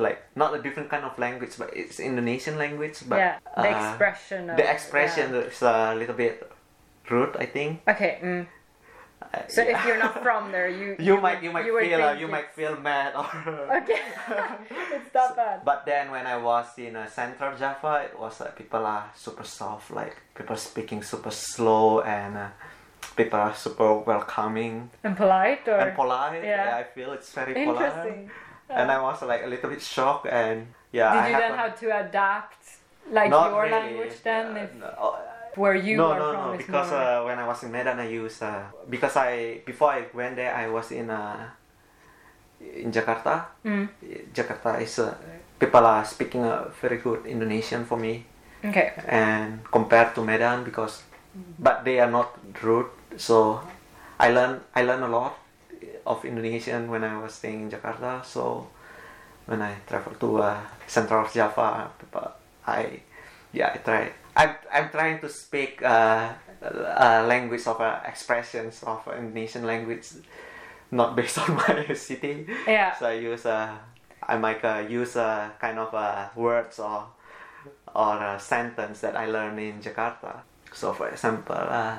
Speaker 1: like not a different kind of language, but it's Indonesian language. But
Speaker 4: yeah. The
Speaker 1: uh,
Speaker 4: expression. Of,
Speaker 1: the expression is a little bit rude, I think.
Speaker 4: yeah. Okay. Mm.
Speaker 1: Uh,
Speaker 4: So
Speaker 1: yeah.
Speaker 4: if you're not from there, you
Speaker 1: you might you might
Speaker 4: would
Speaker 1: feel uh,
Speaker 4: think
Speaker 1: you
Speaker 4: it-
Speaker 1: might feel mad or.
Speaker 4: Okay. it's not bad.
Speaker 1: But then when I was in uh, Central Java, it was like people are super soft, like people speaking super slow and uh, people are super welcoming
Speaker 4: And polite or
Speaker 1: and polite.
Speaker 4: yeah.
Speaker 1: I feel it's very polite.
Speaker 4: interesting.
Speaker 1: And I was like a little bit shocked and yeah.
Speaker 4: Did
Speaker 1: I
Speaker 4: you
Speaker 1: have
Speaker 4: then
Speaker 1: a-
Speaker 4: have to adapt like
Speaker 1: not
Speaker 4: your
Speaker 1: really,
Speaker 4: language then,
Speaker 1: uh,
Speaker 4: if,
Speaker 1: no, oh,
Speaker 4: where you
Speaker 1: no,
Speaker 4: are
Speaker 1: no,
Speaker 4: from?
Speaker 1: no,
Speaker 4: is
Speaker 1: because
Speaker 4: more-
Speaker 1: uh, when I was in Medan, I used uh, because I before I went there, I was in uh, in Jakarta.
Speaker 4: Mm.
Speaker 1: Jakarta is uh, people are speaking uh, very good Indonesian for me,
Speaker 4: okay.
Speaker 1: and compared to Medan because, but they are not rude. So I learn I learn a lot of Indonesian when I was staying in Jakarta. So when I travel to uh, Central Java, people, I yeah I try. I'm, I'm trying to speak uh, uh, language of uh, expressions of Indonesian language, not based on my city.
Speaker 4: Yeah.
Speaker 1: So I use uh, I might uh, use uh, kind of uh, words or or a sentence that I learned in Jakarta. So for example, uh,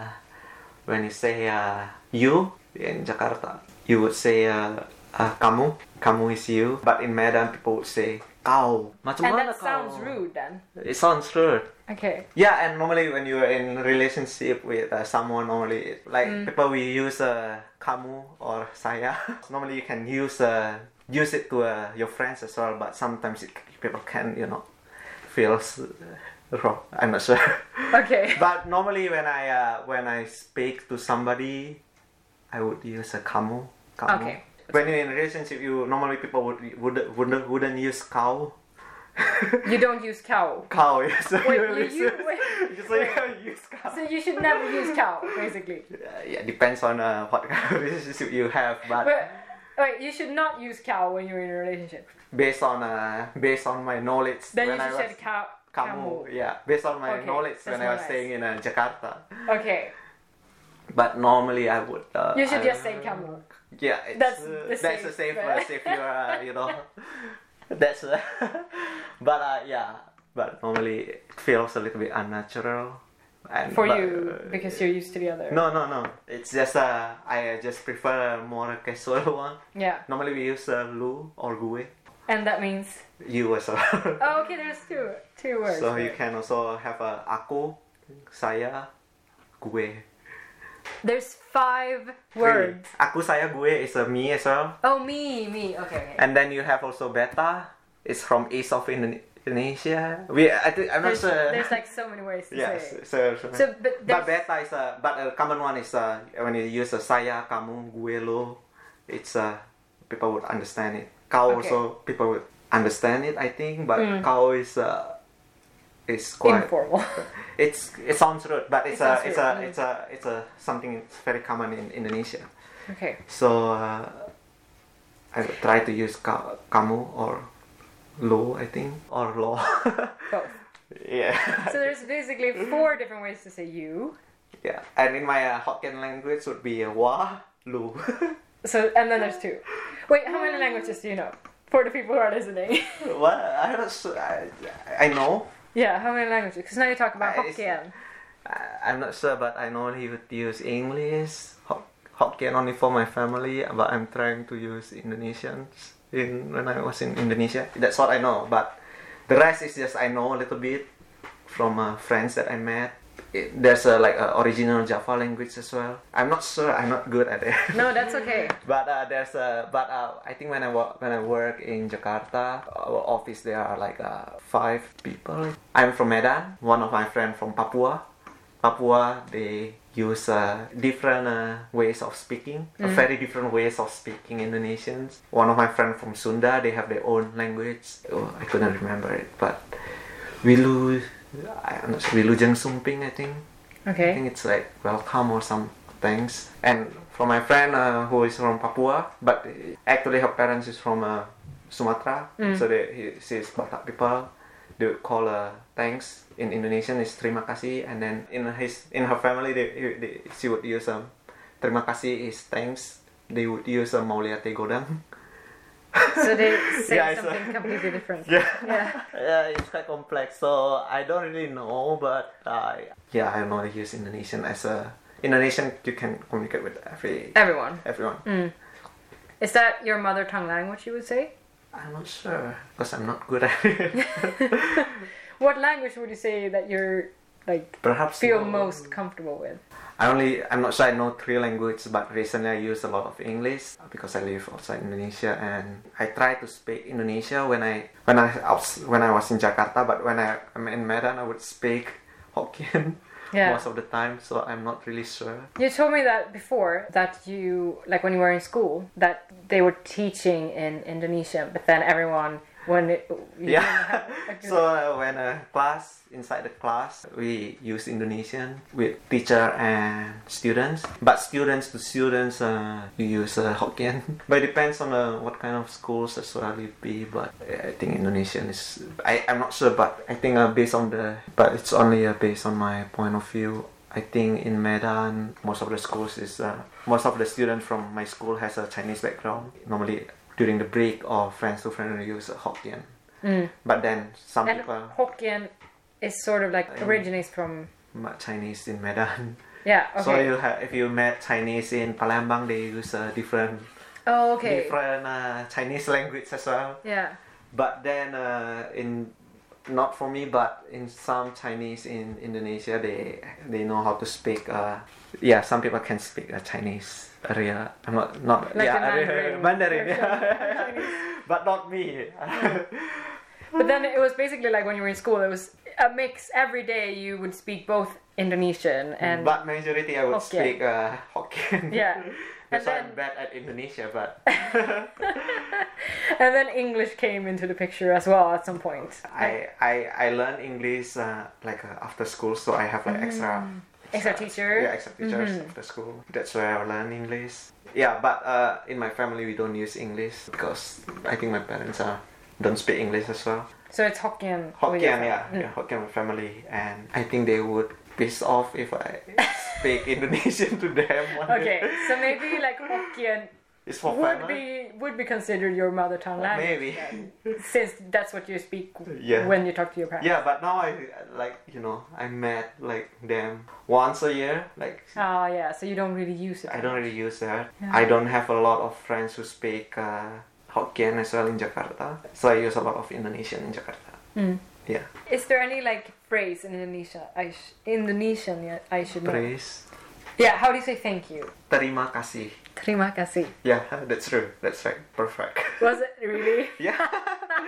Speaker 1: when you say uh, you in Jakarta, you would say uh, uh, kamu, kamu is you. But in Medan, people would say kau. Macam
Speaker 4: And
Speaker 1: mana
Speaker 4: that sounds
Speaker 1: kau?
Speaker 4: rude then.
Speaker 1: It sounds rude.
Speaker 4: Okay.
Speaker 1: Yeah, and normally when you're in relationship with uh, someone, normally like
Speaker 4: Mm.
Speaker 1: people we use uh, kamu or saya. normally you can use uh, use it to uh, your friends as well, but sometimes it, people can you know feels uh, wrong. I'm not sure.
Speaker 4: Okay.
Speaker 1: but normally when I uh, when I speak to somebody, I would use a kamu. kamu.
Speaker 4: Okay.
Speaker 1: When you're in relationship, you normally people would would wouldn't, wouldn't use kau.
Speaker 4: you don't use cow.
Speaker 1: cow. yeah, So
Speaker 4: Wait,
Speaker 1: you
Speaker 4: you-
Speaker 1: use,
Speaker 4: you- wait,
Speaker 1: so you use cow.
Speaker 4: So you should never use cow, basically.
Speaker 1: Uh, yeah, depends on uh, what kind of relationship you have, but
Speaker 4: But wait, you should not use cow when you're in a relationship.
Speaker 1: based on uh, based on my knowledge
Speaker 4: Then
Speaker 1: when
Speaker 4: you
Speaker 1: I
Speaker 4: should
Speaker 1: was
Speaker 4: say cow.
Speaker 1: Kamu, yeah, based on my
Speaker 4: Okay,
Speaker 1: knowledge
Speaker 4: that's
Speaker 1: when I
Speaker 4: more
Speaker 1: was
Speaker 4: nice.
Speaker 1: staying in uh, Jakarta.
Speaker 4: Okay.
Speaker 1: But normally I would. Uh,
Speaker 4: You should
Speaker 1: I-
Speaker 4: just say camel.
Speaker 1: Yeah, it's,
Speaker 4: That's
Speaker 1: uh,
Speaker 4: the
Speaker 1: that's
Speaker 4: safe,
Speaker 1: a safe
Speaker 4: but-
Speaker 1: place if you are, uh, you know. That's, uh, but uh, yeah, but normally it feels a little bit unnatural. And,
Speaker 4: For
Speaker 1: but,
Speaker 4: you,
Speaker 1: uh,
Speaker 4: because you're used to the other.
Speaker 1: No, no, no. It's just uh, I uh, just prefer a more casual one.
Speaker 4: Yeah.
Speaker 1: Normally we use uh, lu or gue.
Speaker 4: And that means.
Speaker 1: You as well.
Speaker 4: Oh, okay, there's two two words.
Speaker 1: so you
Speaker 4: there.
Speaker 1: can also have a aku, saya, gue.
Speaker 4: There's five words.
Speaker 1: Three. Aku, saya, gue is a me as well.
Speaker 4: Oh, me, me. Okay. okay.
Speaker 1: And then you have also beta. It's from east of Indone- Indonesia. We I think I'm not
Speaker 4: There's,
Speaker 1: sure.
Speaker 4: there's like so many ways to
Speaker 1: yes.
Speaker 4: say it.
Speaker 1: So,
Speaker 4: So, but
Speaker 1: but
Speaker 4: there's,
Speaker 1: beta is a but a common one is a when you use a saya, kamu, gue, lo. It's a people would understand it. Kau
Speaker 4: Okay. Hmm.
Speaker 1: also people would understand it. I think, but kau is a is quite
Speaker 4: informal.
Speaker 1: It's it sounds rude, but it's
Speaker 4: It
Speaker 1: a
Speaker 4: sounds
Speaker 1: it's
Speaker 4: rude,
Speaker 1: a
Speaker 4: mm.
Speaker 1: it's a it's a something that's very common in Indonesia.
Speaker 4: okay.
Speaker 1: So uh, I would try to use ka- kamu or lo, I think, or lo.
Speaker 4: Both.
Speaker 1: yeah,
Speaker 4: So there's basically four different ways to say you.
Speaker 1: yeah. And in my uh, Hokkien language would be uh, wa lu.
Speaker 4: So and then there's two. Wait, how many languages do you know? For the people who are listening.
Speaker 1: what I don't. s- I, I know.
Speaker 4: yeah, how many languages? Because now you talk about
Speaker 1: Uh, it's-
Speaker 4: Hokkien.
Speaker 1: I- I'm not sure, but I normally would use English, Hok- Hokkien only for my family, but I'm trying to use Indonesians in when I was in Indonesia. That's what I know, but the rest is just I know a little bit from uh, friends that I met. It, there's a like a original Java language as well. I'm not sure. I'm not good at it.
Speaker 4: No, that's okay.
Speaker 1: But uh, there's a but uh, I think when I work when I work in Jakarta, our office there are like uh, five people. I'm from Medan. One of my friend from Papua. Papua they use uh, different uh, ways of speaking, uh, very different ways of speaking Indonesians. One of my friend from Sunda they have their own language. Oh, I couldn't remember it, but Wilu, I'm not sure, Wilu Jeng Sumping I think. I
Speaker 4: Okay.
Speaker 1: think it's like welcome or some things. And for my friend uh, who is from Papua, but actually her parents is from uh, Sumatra, so they he, she's Batak people. They would call uh, thanks in Indonesian is terima kasih, and then in his in her family they, he- they she would use um terima kasih is thanks. They would use um, maulia te godang.
Speaker 4: So they say
Speaker 1: Yeah, I saw.
Speaker 4: something completely different.
Speaker 1: Yeah.
Speaker 4: Yeah.
Speaker 1: Yeah, it's quite complex, so I don't really know, but I yeah, I know I use Indonesian as a Indonesian. You can communicate with every
Speaker 4: Everyone.
Speaker 1: everyone.
Speaker 4: Mm. Is that your mother tongue language, you would say?
Speaker 1: I'm not sure because I'm not good at it.
Speaker 4: What language would you say that you're like
Speaker 1: Perhaps
Speaker 4: feel
Speaker 1: no.
Speaker 4: most comfortable with?
Speaker 1: I only I'm not sure I know three languages, but recently I use a lot of English uh, because I live outside Indonesia and I try to speak Indonesia when I when I outs- when I was in Jakarta, but when I am in Medan, I would speak Hokkien
Speaker 4: Yeah.
Speaker 1: most of the time, so I'm not really sure.
Speaker 4: You told me that before that you like when you were in school that they were teaching in Indonesian, but then everyone when it, you
Speaker 1: Yeah.
Speaker 4: didn't have- like,
Speaker 1: so uh, when a class inside the class, we use Indonesian with teacher and students. But students to students, uh, you use uh, Hokkien. but it depends on uh, what kind of schools as well you be. But uh, I think Indonesian is. I I'm not sure, but I think uh, based on the. But it's only uh, based on my point of view. I think in Medan, most of the schools is uh, most of the students from my school has a Chinese background. Normally, during the break or friends to friend, we use Hokkien.
Speaker 4: Mm.
Speaker 1: But then some
Speaker 4: and
Speaker 1: people
Speaker 4: Hokkien is sort of like originates from
Speaker 1: met Chinese in Medan.
Speaker 4: yeah okay
Speaker 1: So you have, if you met Chinese in Palembang, they use a different
Speaker 4: oh okay
Speaker 1: different uh, Chinese language as well.
Speaker 4: yeah
Speaker 1: But then uh, in not for me, but in some Chinese in Indonesia, they they know how to speak. Uh, yeah, some people can speak uh, Chinese. Area, I'm not not
Speaker 4: Like
Speaker 1: yeah
Speaker 4: the
Speaker 1: area-
Speaker 4: Mandarin
Speaker 1: Mandarin,
Speaker 4: version
Speaker 1: yeah. but not me.
Speaker 4: but then it was basically like when you were in school it was a mix every day you would speak both Indonesian
Speaker 1: Mm-hmm.
Speaker 4: and
Speaker 1: but majority I would
Speaker 4: Hokkien.
Speaker 1: speak uh, Hokkien.
Speaker 4: Yeah.
Speaker 1: That's why I'm
Speaker 4: And then-
Speaker 1: bad at Indonesia, but
Speaker 4: and then English came into the picture as well at some point
Speaker 1: I I, I learn English uh, like uh, after school, so I have like extra
Speaker 4: Mm. Extra teacher? Mm-hmm.
Speaker 1: Yeah, extra teachers after school. That's where I learn English. Yeah, but uh, in my family we don't use English because I think my parents are don't speak English as well.
Speaker 4: so it's Hokkien with your
Speaker 1: Hokkien,
Speaker 4: family.
Speaker 1: yeah, yeah, Hokkien my family, and I think they would piss off if I speak Indonesian to them. One
Speaker 4: okay
Speaker 1: day.
Speaker 4: so maybe like Hokkien
Speaker 1: it's for
Speaker 4: would
Speaker 1: family.
Speaker 4: be would be considered your mother tongue
Speaker 1: Maybe.
Speaker 4: language since that's what you speak w-
Speaker 1: Yeah.
Speaker 4: when you talk to your parents.
Speaker 1: Yeah, but now I like you know I met like them once a year. Like
Speaker 4: Oh yeah, so you don't really use it.
Speaker 1: I don't really use that. I don't have a lot of friends who speak uh, Hokkien as well in Jakarta, so I use a lot of Indonesian in Jakarta. Yeah,
Speaker 4: Is there any like phrase in Indonesia I sh- Indonesian yet I should know?
Speaker 1: praise,
Speaker 4: Yeah, how do you say thank you?
Speaker 1: terima kasih.
Speaker 4: Terima kasih.
Speaker 1: Yeah, that's true. That's right. Perfect.
Speaker 4: Was it really?
Speaker 1: Yeah.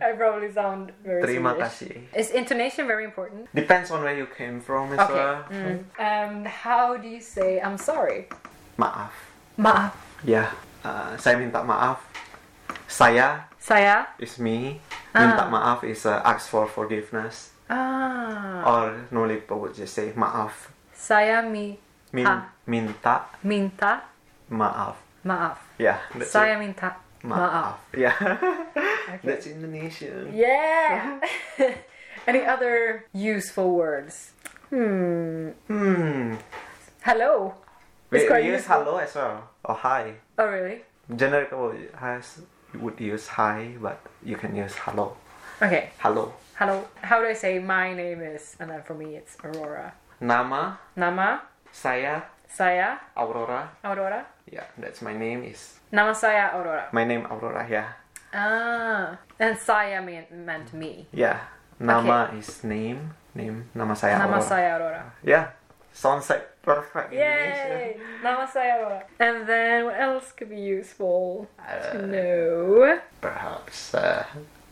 Speaker 4: I probably sound very
Speaker 1: terima
Speaker 4: Swedish.
Speaker 1: kasih.
Speaker 4: Is intonation very important?
Speaker 1: Depends on where you came from as
Speaker 4: Okay.
Speaker 1: well.
Speaker 4: Um, how do you say I'm sorry?
Speaker 1: Maaf.
Speaker 4: Maaf.
Speaker 1: Yeah. Uh, saya minta maaf. Saya
Speaker 4: Saya.
Speaker 1: is me. Minta maaf is uh, ask for forgiveness.
Speaker 4: Ah.
Speaker 1: Or normally people would just say maaf.
Speaker 4: Saya mi
Speaker 1: Min,
Speaker 4: Ah.
Speaker 1: Minta
Speaker 4: minta
Speaker 1: maaf.
Speaker 4: maaf.
Speaker 1: Yeah. That's
Speaker 4: Saya
Speaker 1: it.
Speaker 4: minta
Speaker 1: maaf.
Speaker 4: maaf.
Speaker 1: Yeah. That's Indonesian.
Speaker 4: Yeah. Any other useful words? Hmm.
Speaker 1: Hmm.
Speaker 4: Hello.
Speaker 1: We,
Speaker 4: quite
Speaker 1: we use
Speaker 4: useful.
Speaker 1: hello as well. Or hi.
Speaker 4: Oh really?
Speaker 1: Generic has would use hi, but you can use hello.
Speaker 4: Okay.
Speaker 1: Hello.
Speaker 4: Hello. How do I say my name is? And then for me, it's Aurora.
Speaker 1: Nama
Speaker 4: Nama
Speaker 1: saya
Speaker 4: saya
Speaker 1: Aurora.
Speaker 4: Aurora.
Speaker 1: Yeah, that's my name is
Speaker 4: Nama saya Aurora.
Speaker 1: my name Aurora. Yeah,
Speaker 4: Ah, and saya mean, meant me.
Speaker 1: yeah. Nama is name name. Nama saya
Speaker 4: Nama
Speaker 1: Aurora.
Speaker 4: saya Aurora.
Speaker 1: Yeah, sounds like perfect English.
Speaker 4: Yay! Nama saya Aurora. And then what else could be useful
Speaker 1: Uh.
Speaker 4: to know?
Speaker 1: Perhaps uh,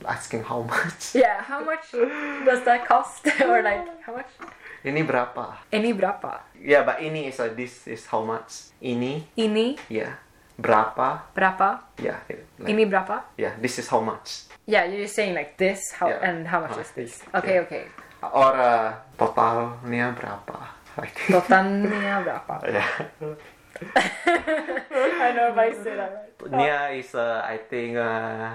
Speaker 1: asking how much.
Speaker 4: Yeah, how much does that cost? or like, how much?
Speaker 1: Ini berapa?
Speaker 4: Ini berapa?
Speaker 1: Yeah, but ini is a this is how much. Ini
Speaker 4: Ini
Speaker 1: yeah. Berapa?
Speaker 4: berapa?
Speaker 1: Yeah. it- like-
Speaker 4: Ini berapa?
Speaker 1: yeah. This is how much.
Speaker 4: Yeah, you're just saying like this, how
Speaker 1: Yeah.
Speaker 4: and how much
Speaker 1: Ah,
Speaker 4: is this?
Speaker 1: yeah.
Speaker 4: Okay, okay.
Speaker 1: Or uh, totalnya berapa? Like ya.
Speaker 4: Totalnya berapa?
Speaker 1: yeah.
Speaker 4: I know if I say that right.
Speaker 1: Nia is uh, I think uh,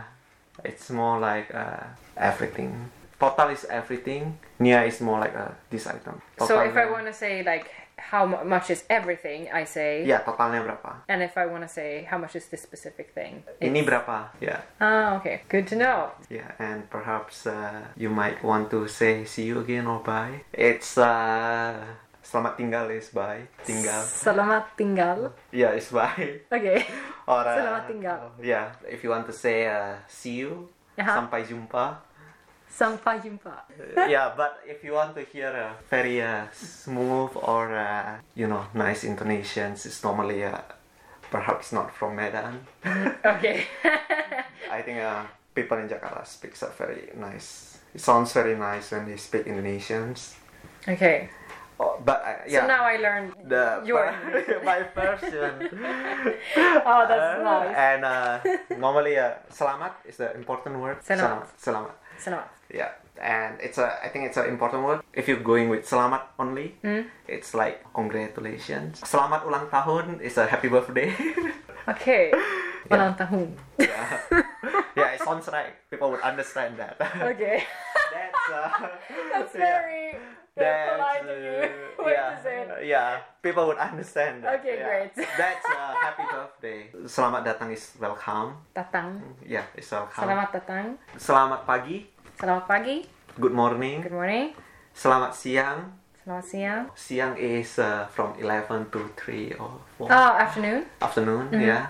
Speaker 1: it's more like uh, everything. Total is everything. Nia is more like uh, this item.
Speaker 4: So if I
Speaker 1: Totalnya-
Speaker 4: want to say like how mu- much is everything, I say.
Speaker 1: Yeah, Ya, totalnya berapa?
Speaker 4: And if I want to say how much is this specific thing?
Speaker 1: Ini
Speaker 4: it's-
Speaker 1: berapa? Ya. Yeah.
Speaker 4: Ah, okay. Good to know.
Speaker 1: Yeah, and perhaps uh, you might want to say see you again or bye. It's uh, selamat tinggal is bye. Tinggal.
Speaker 4: Salamat tinggal.
Speaker 1: Yeah, it's bye.
Speaker 4: Okay.
Speaker 1: Or uh,
Speaker 4: Selamat tinggal. Uh-huh.
Speaker 1: Yeah, if you want to say uh, see you,
Speaker 4: Aha.
Speaker 1: sampai jumpa.
Speaker 4: Sampai jumpa.
Speaker 1: yeah, but if you want to hear a very uh, smooth or uh, you know nice intonations, it's normally uh, perhaps not from Medan.
Speaker 4: Okay.
Speaker 1: I think uh, people in Jakarta speaks a very nice. It sounds very nice when they speak Indonesians.
Speaker 4: okay.
Speaker 1: Oh, but uh, yeah.
Speaker 4: So now I learned
Speaker 1: the
Speaker 4: your.
Speaker 1: my version.
Speaker 4: oh, that's
Speaker 1: Uh,
Speaker 4: nice.
Speaker 1: And uh, normally, uh, selamat is the important word.
Speaker 4: Selamat.
Speaker 1: Selamat. selamat.
Speaker 4: Salamat.
Speaker 1: Yeah, and it's a. I think it's an important word. If you're going with selamat only,
Speaker 4: Hmm?
Speaker 1: it's like congratulations. Selamat ulang tahun is a happy birthday.
Speaker 4: Okay. Ulang tahun.
Speaker 1: yeah. yeah, it sounds right. People would understand that.
Speaker 4: Okay.
Speaker 1: That's. Uh,
Speaker 4: That's
Speaker 1: yeah.
Speaker 4: very very polite of you.
Speaker 1: uh,
Speaker 4: Way
Speaker 1: yeah,
Speaker 4: to say it.
Speaker 1: yeah, people would understand that.
Speaker 4: Okay,
Speaker 1: yeah.
Speaker 4: great.
Speaker 1: That's uh, happy birthday. Selamat datang is welcome.
Speaker 4: Datang.
Speaker 1: Yeah, it's welcome.
Speaker 4: Salamat datang.
Speaker 1: Selamat pagi.
Speaker 4: Selamat pagi.
Speaker 1: Good morning.
Speaker 4: Good morning.
Speaker 1: Selamat siang.
Speaker 4: Selamat siang.
Speaker 1: Siang is uh, from 11 to 3 or 4
Speaker 4: Oh, Mm-hmm. afternoon.
Speaker 1: afternoon, yeah.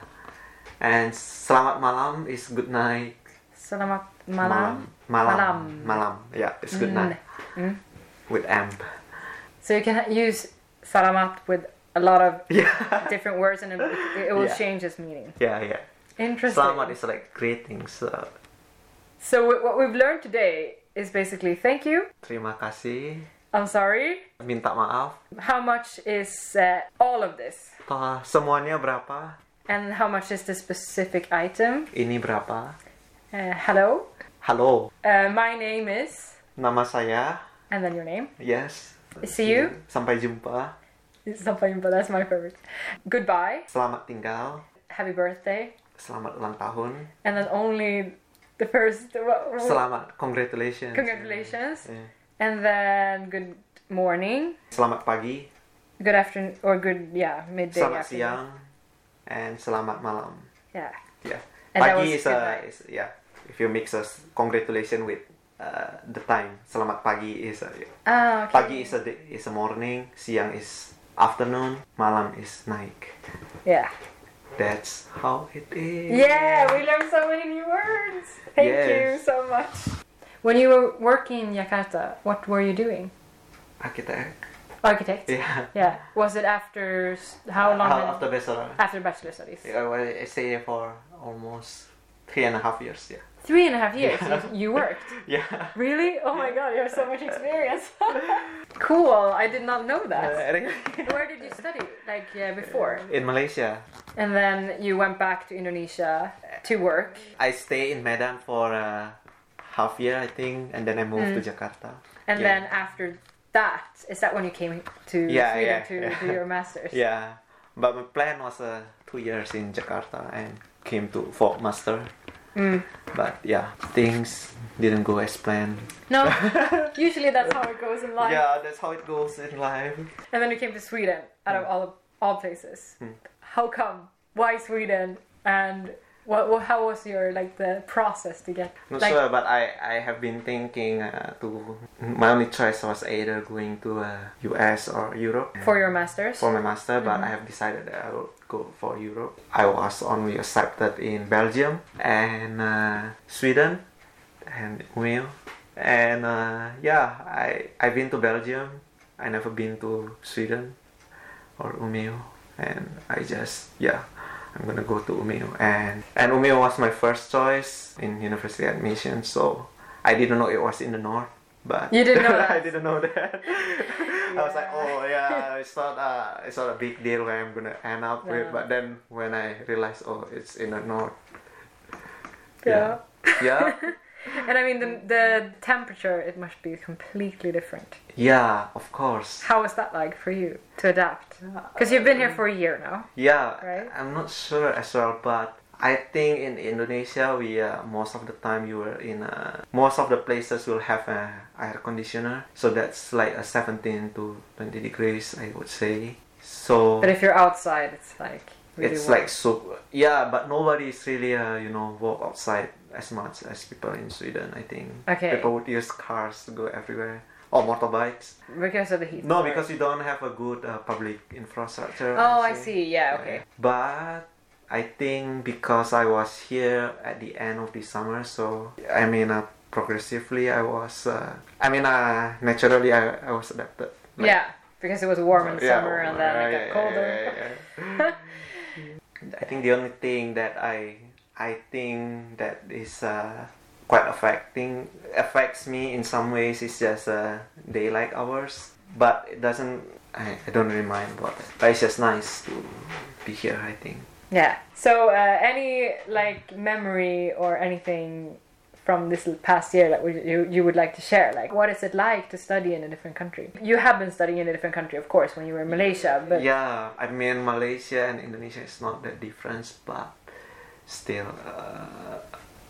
Speaker 1: And selamat malam is good night.
Speaker 4: Selamat malam.
Speaker 1: Malam. Malam.
Speaker 4: Malam. Mm-hmm.
Speaker 1: Malam. Yeah, it's good night. With M.
Speaker 4: So you can use salamat with a lot of
Speaker 1: Yeah.
Speaker 4: different words and it, it will
Speaker 1: Yeah.
Speaker 4: change its meaning.
Speaker 1: yeah, yeah.
Speaker 4: Interesting.
Speaker 1: Selamat is like greetings. Uh,
Speaker 4: So w- what we've learned today is basically thank you,
Speaker 1: terima kasih.
Speaker 4: I'm sorry.
Speaker 1: Minta maaf.
Speaker 4: How much is uh, all of this?
Speaker 1: Uh, semuanya berapa?
Speaker 4: And how much is the specific item?
Speaker 1: Ini berapa?
Speaker 4: Uh, hello.
Speaker 1: Halo.
Speaker 4: Uh, my name is
Speaker 1: Nama saya.
Speaker 4: and then your name.
Speaker 1: Yes.
Speaker 4: See you.
Speaker 1: Sampai jumpa.
Speaker 4: Sampai jumpa. That's my favorite. Goodbye.
Speaker 1: Selamat tinggal.
Speaker 4: Happy birthday.
Speaker 1: Selamat ulang tahun.
Speaker 4: And then only the first.
Speaker 1: Selamat congratulations.
Speaker 4: Congratulations.
Speaker 1: Yeah.
Speaker 4: And then good morning,
Speaker 1: Selamat pagi,
Speaker 4: good afternoon, or good yeah midday.
Speaker 1: selamat
Speaker 4: afternoon.
Speaker 1: siang, and selamat malam.
Speaker 4: Yeah.
Speaker 1: Yeah.
Speaker 4: And that
Speaker 1: pagi
Speaker 4: was
Speaker 1: is
Speaker 4: good
Speaker 1: a
Speaker 4: night.
Speaker 1: is, yeah. If you mix us congratulations with uh, the time. Selamat pagi is uh, a,
Speaker 4: Ah. Okay.
Speaker 1: pagi is a day- is a morning, siang is afternoon, malam is night.
Speaker 4: Yeah.
Speaker 1: That's how it is.
Speaker 4: Yeah. We learned so many new words. Thank
Speaker 1: Yes.
Speaker 4: you so much. When you were working in Jakarta, what were you doing?
Speaker 1: Architect.
Speaker 4: Architect.
Speaker 1: Ah, eh? Yeah. Uh,
Speaker 4: Yeah. Was it after s- how long?
Speaker 1: How
Speaker 4: in-
Speaker 1: after bachelor?
Speaker 4: after bachelor studies.
Speaker 1: Yeah, well, I stay there for almost three and a half years. Yeah.
Speaker 4: Three and a half years. You, you worked.
Speaker 1: Yeah.
Speaker 4: Really? Oh my god, you have so much experience. cool. I did not know that. Where did you study? Like yeah, before.
Speaker 1: In Malaysia,
Speaker 4: And then you went back to Indonesia to work.
Speaker 1: I stay in Medan for uh, half year, I think, and then I moved to
Speaker 4: Hmm.
Speaker 1: Jakarta.
Speaker 4: And
Speaker 1: Yeah.
Speaker 4: then after that, is that when you came to
Speaker 1: Yeah,
Speaker 4: Sweden
Speaker 1: yeah,
Speaker 4: to
Speaker 1: yeah.
Speaker 4: do your master's?
Speaker 1: Yeah, but my plan was uh, two years in Jakarta and came to for master.
Speaker 4: Mm.
Speaker 1: But yeah, things didn't go as planned.
Speaker 4: No, usually that's how it goes in life.
Speaker 1: Yeah, that's how it goes in life.
Speaker 4: And then you came
Speaker 1: Mm.
Speaker 4: to
Speaker 1: Hmm.
Speaker 4: Sweden out of all all places. How come? Why Sweden? And What, what how was your like the process to get
Speaker 1: Not
Speaker 4: like
Speaker 1: sure, but I, I have been thinking uh, to. My only choice was either going to uh, US or Europe
Speaker 4: for your masters?
Speaker 1: for my master,
Speaker 4: Mm-hmm.
Speaker 1: but I have decided that I will go for Europe. I was only accepted in Belgium and uh, Sweden and Wales. And uh, yeah, I, I've been to Belgium. I never been to Sweden or Umeå. And I just, yeah, I'm gonna go to Umeå. And, and Umeå was my first choice in university admission, so I didn't know it was in the north. But
Speaker 4: You didn't know
Speaker 1: I
Speaker 4: that?
Speaker 1: didn't know that. I was like, oh yeah, it's not uh, it's not a big deal where I'm gonna end up with.
Speaker 4: Yeah.
Speaker 1: But then when I realized, oh, it's in the north.
Speaker 4: Yeah.
Speaker 1: Yeah.
Speaker 4: And I mean the the temperature it must be completely different.
Speaker 1: yeah, of course.
Speaker 4: How was that like for you to adapt? Because you've been here for a year now.
Speaker 1: Yeah.
Speaker 4: Right.
Speaker 1: I'm not sure as well, but I think in Indonesia we uh, most of the time you were in uh, most of the places will have a air conditioner, so that's like a 17 to 20 degrees, I would say. So.
Speaker 4: But if you're outside, it's like really
Speaker 1: it's
Speaker 4: warm.
Speaker 1: like so yeah but nobody's really uh, you know walk outside as much as people in sweden i think
Speaker 4: Okay.
Speaker 1: people would use cars to go everywhere or motorbikes
Speaker 4: because of the heat.
Speaker 1: no
Speaker 4: sorry.
Speaker 1: because you don't have a good uh, public infrastructure
Speaker 4: Oh, I see. Yeah. Okay.
Speaker 1: but i think because i was here at the end of the summer so i mean uh, progressively i was uh, i mean uh, naturally I, I was adapted Like,
Speaker 4: yeah. Because it was warm in
Speaker 1: yeah,
Speaker 4: summer and
Speaker 1: well,
Speaker 4: then it
Speaker 1: yeah,
Speaker 4: got colder.
Speaker 1: yeah, yeah, yeah. I think the only thing that I I think that is uh, quite affecting affects me in some ways is just uh, daylight hours, but it doesn't. I, I don't really mind about it, but it's just nice to be here. I think.
Speaker 4: Yeah. So, uh, any like memory or anything from this l- past year that would, you you would like to share? Like, what is it like to study in a different country? You have been studying in a different country, of course, when you were in Malaysia, but
Speaker 1: yeah, I mean Malaysia and Indonesia is not that different, but still. Uh,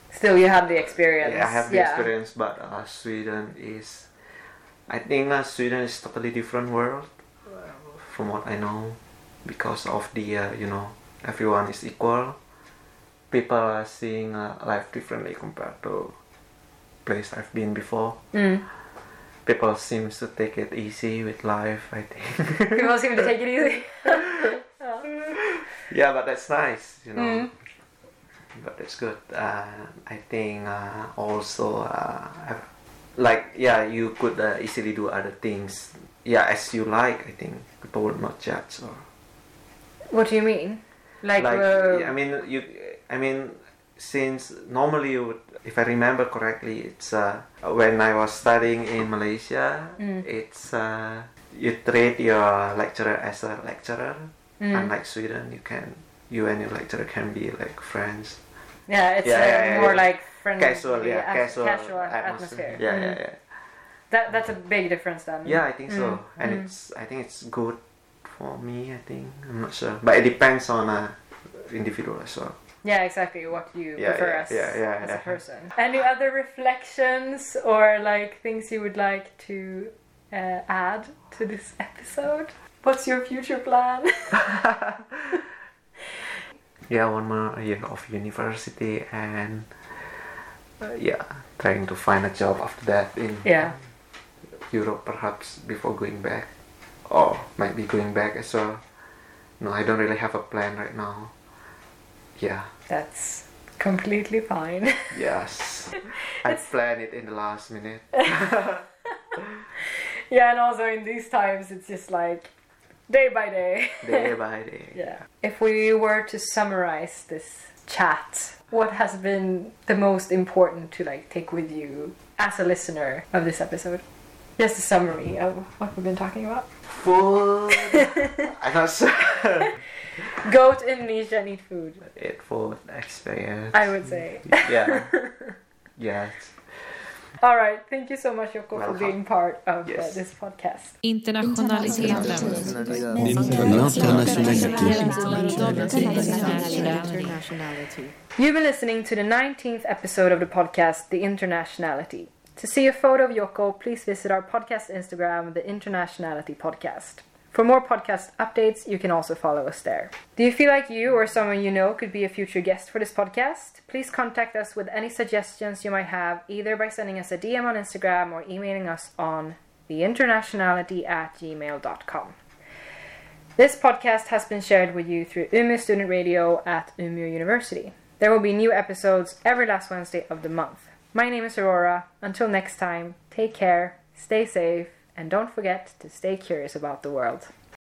Speaker 4: still you have the experience.
Speaker 1: Yeah, I have the experience, but uh, Sweden is, I think uh, Sweden is totally different world uh, from what I know, because of the uh, you know everyone is equal. People are seeing uh, life differently compared to place I've been before.
Speaker 4: Mm.
Speaker 1: People seems to take it easy with life. I think.
Speaker 4: People seem to take it easy.
Speaker 1: yeah, but that's nice, you know.
Speaker 4: Mm.
Speaker 1: But that's good. Uh, I think uh, also, uh, I've- like, yeah, you could uh, easily do other things. Yeah, as you like, I think people will not judge or
Speaker 4: what do you mean? Like,
Speaker 1: like
Speaker 4: uh,
Speaker 1: yeah, I mean you I mean since normally you would, if I remember correctly it's uh, when I was studying in Malaysia
Speaker 4: Mm.
Speaker 1: it's uh, you treat your lecturer as a lecturer
Speaker 4: mm.
Speaker 1: unlike Sweden you can you and your lecturer can be like friends
Speaker 4: yeah, it's
Speaker 1: yeah,
Speaker 4: uh,
Speaker 1: yeah, yeah,
Speaker 4: more
Speaker 1: yeah.
Speaker 4: like friendly,
Speaker 1: casual yeah
Speaker 4: at-
Speaker 1: casual,
Speaker 4: casual atmosphere.
Speaker 1: yeah
Speaker 4: Mm.
Speaker 1: yeah yeah
Speaker 4: That that's a big difference then.
Speaker 1: yeah I think
Speaker 4: Mm.
Speaker 1: so and it's I think it's good for me I think I'm not sure but it depends on uh, individual as well
Speaker 4: Yeah, exactly. What you
Speaker 1: Yeah,
Speaker 4: prefer
Speaker 1: yeah,
Speaker 4: as,
Speaker 1: yeah, yeah,
Speaker 4: as
Speaker 1: yeah.
Speaker 4: a person. Any other reflections or like things you would like to uh, add to this episode? What's your future plan?
Speaker 1: yeah one more year of university and uh, yeah trying to find a job after that in
Speaker 4: yeah,
Speaker 1: europe perhaps before going back or might be going back as well no i don't really have a plan right now yeah
Speaker 4: that's completely fine.
Speaker 1: yes i planned it in the last minute
Speaker 4: yeah, and also in these times, it's just like day by day.
Speaker 1: day by day
Speaker 4: Yeah. If we were to summarize this chat, what has been the most important to like take with you as a listener of this episode? Just a summary of what we've been talking about.
Speaker 1: food i'm not sure
Speaker 4: Go to Indonesia and eat food,
Speaker 1: it food experience
Speaker 4: I would say.
Speaker 1: yeah yes
Speaker 4: All right, thank you so much, Yoko, for
Speaker 1: Welcome.
Speaker 4: being part of uh,
Speaker 1: Yes.
Speaker 4: this podcast.
Speaker 2: Internationalisieren.
Speaker 3: Internationality.
Speaker 4: You've been listening to the 19th episode of the podcast, The Internationality. To see a photo of Yoko, please visit our podcast Instagram, The Internationality Podcast. For more podcast updates, you can also follow us there. Do you feel like you or someone you know could be a future guest for this podcast? Please contact us with any suggestions you might have, either by sending us a DM on Instagram or emailing us on theinternationality at gmail.com. This podcast has been shared with you through Umeå Student Radio at Umeå University. There will be new episodes every last Wednesday of the month. My name is Aurora. Until next time, take care, stay safe, and don't forget to stay curious about the world.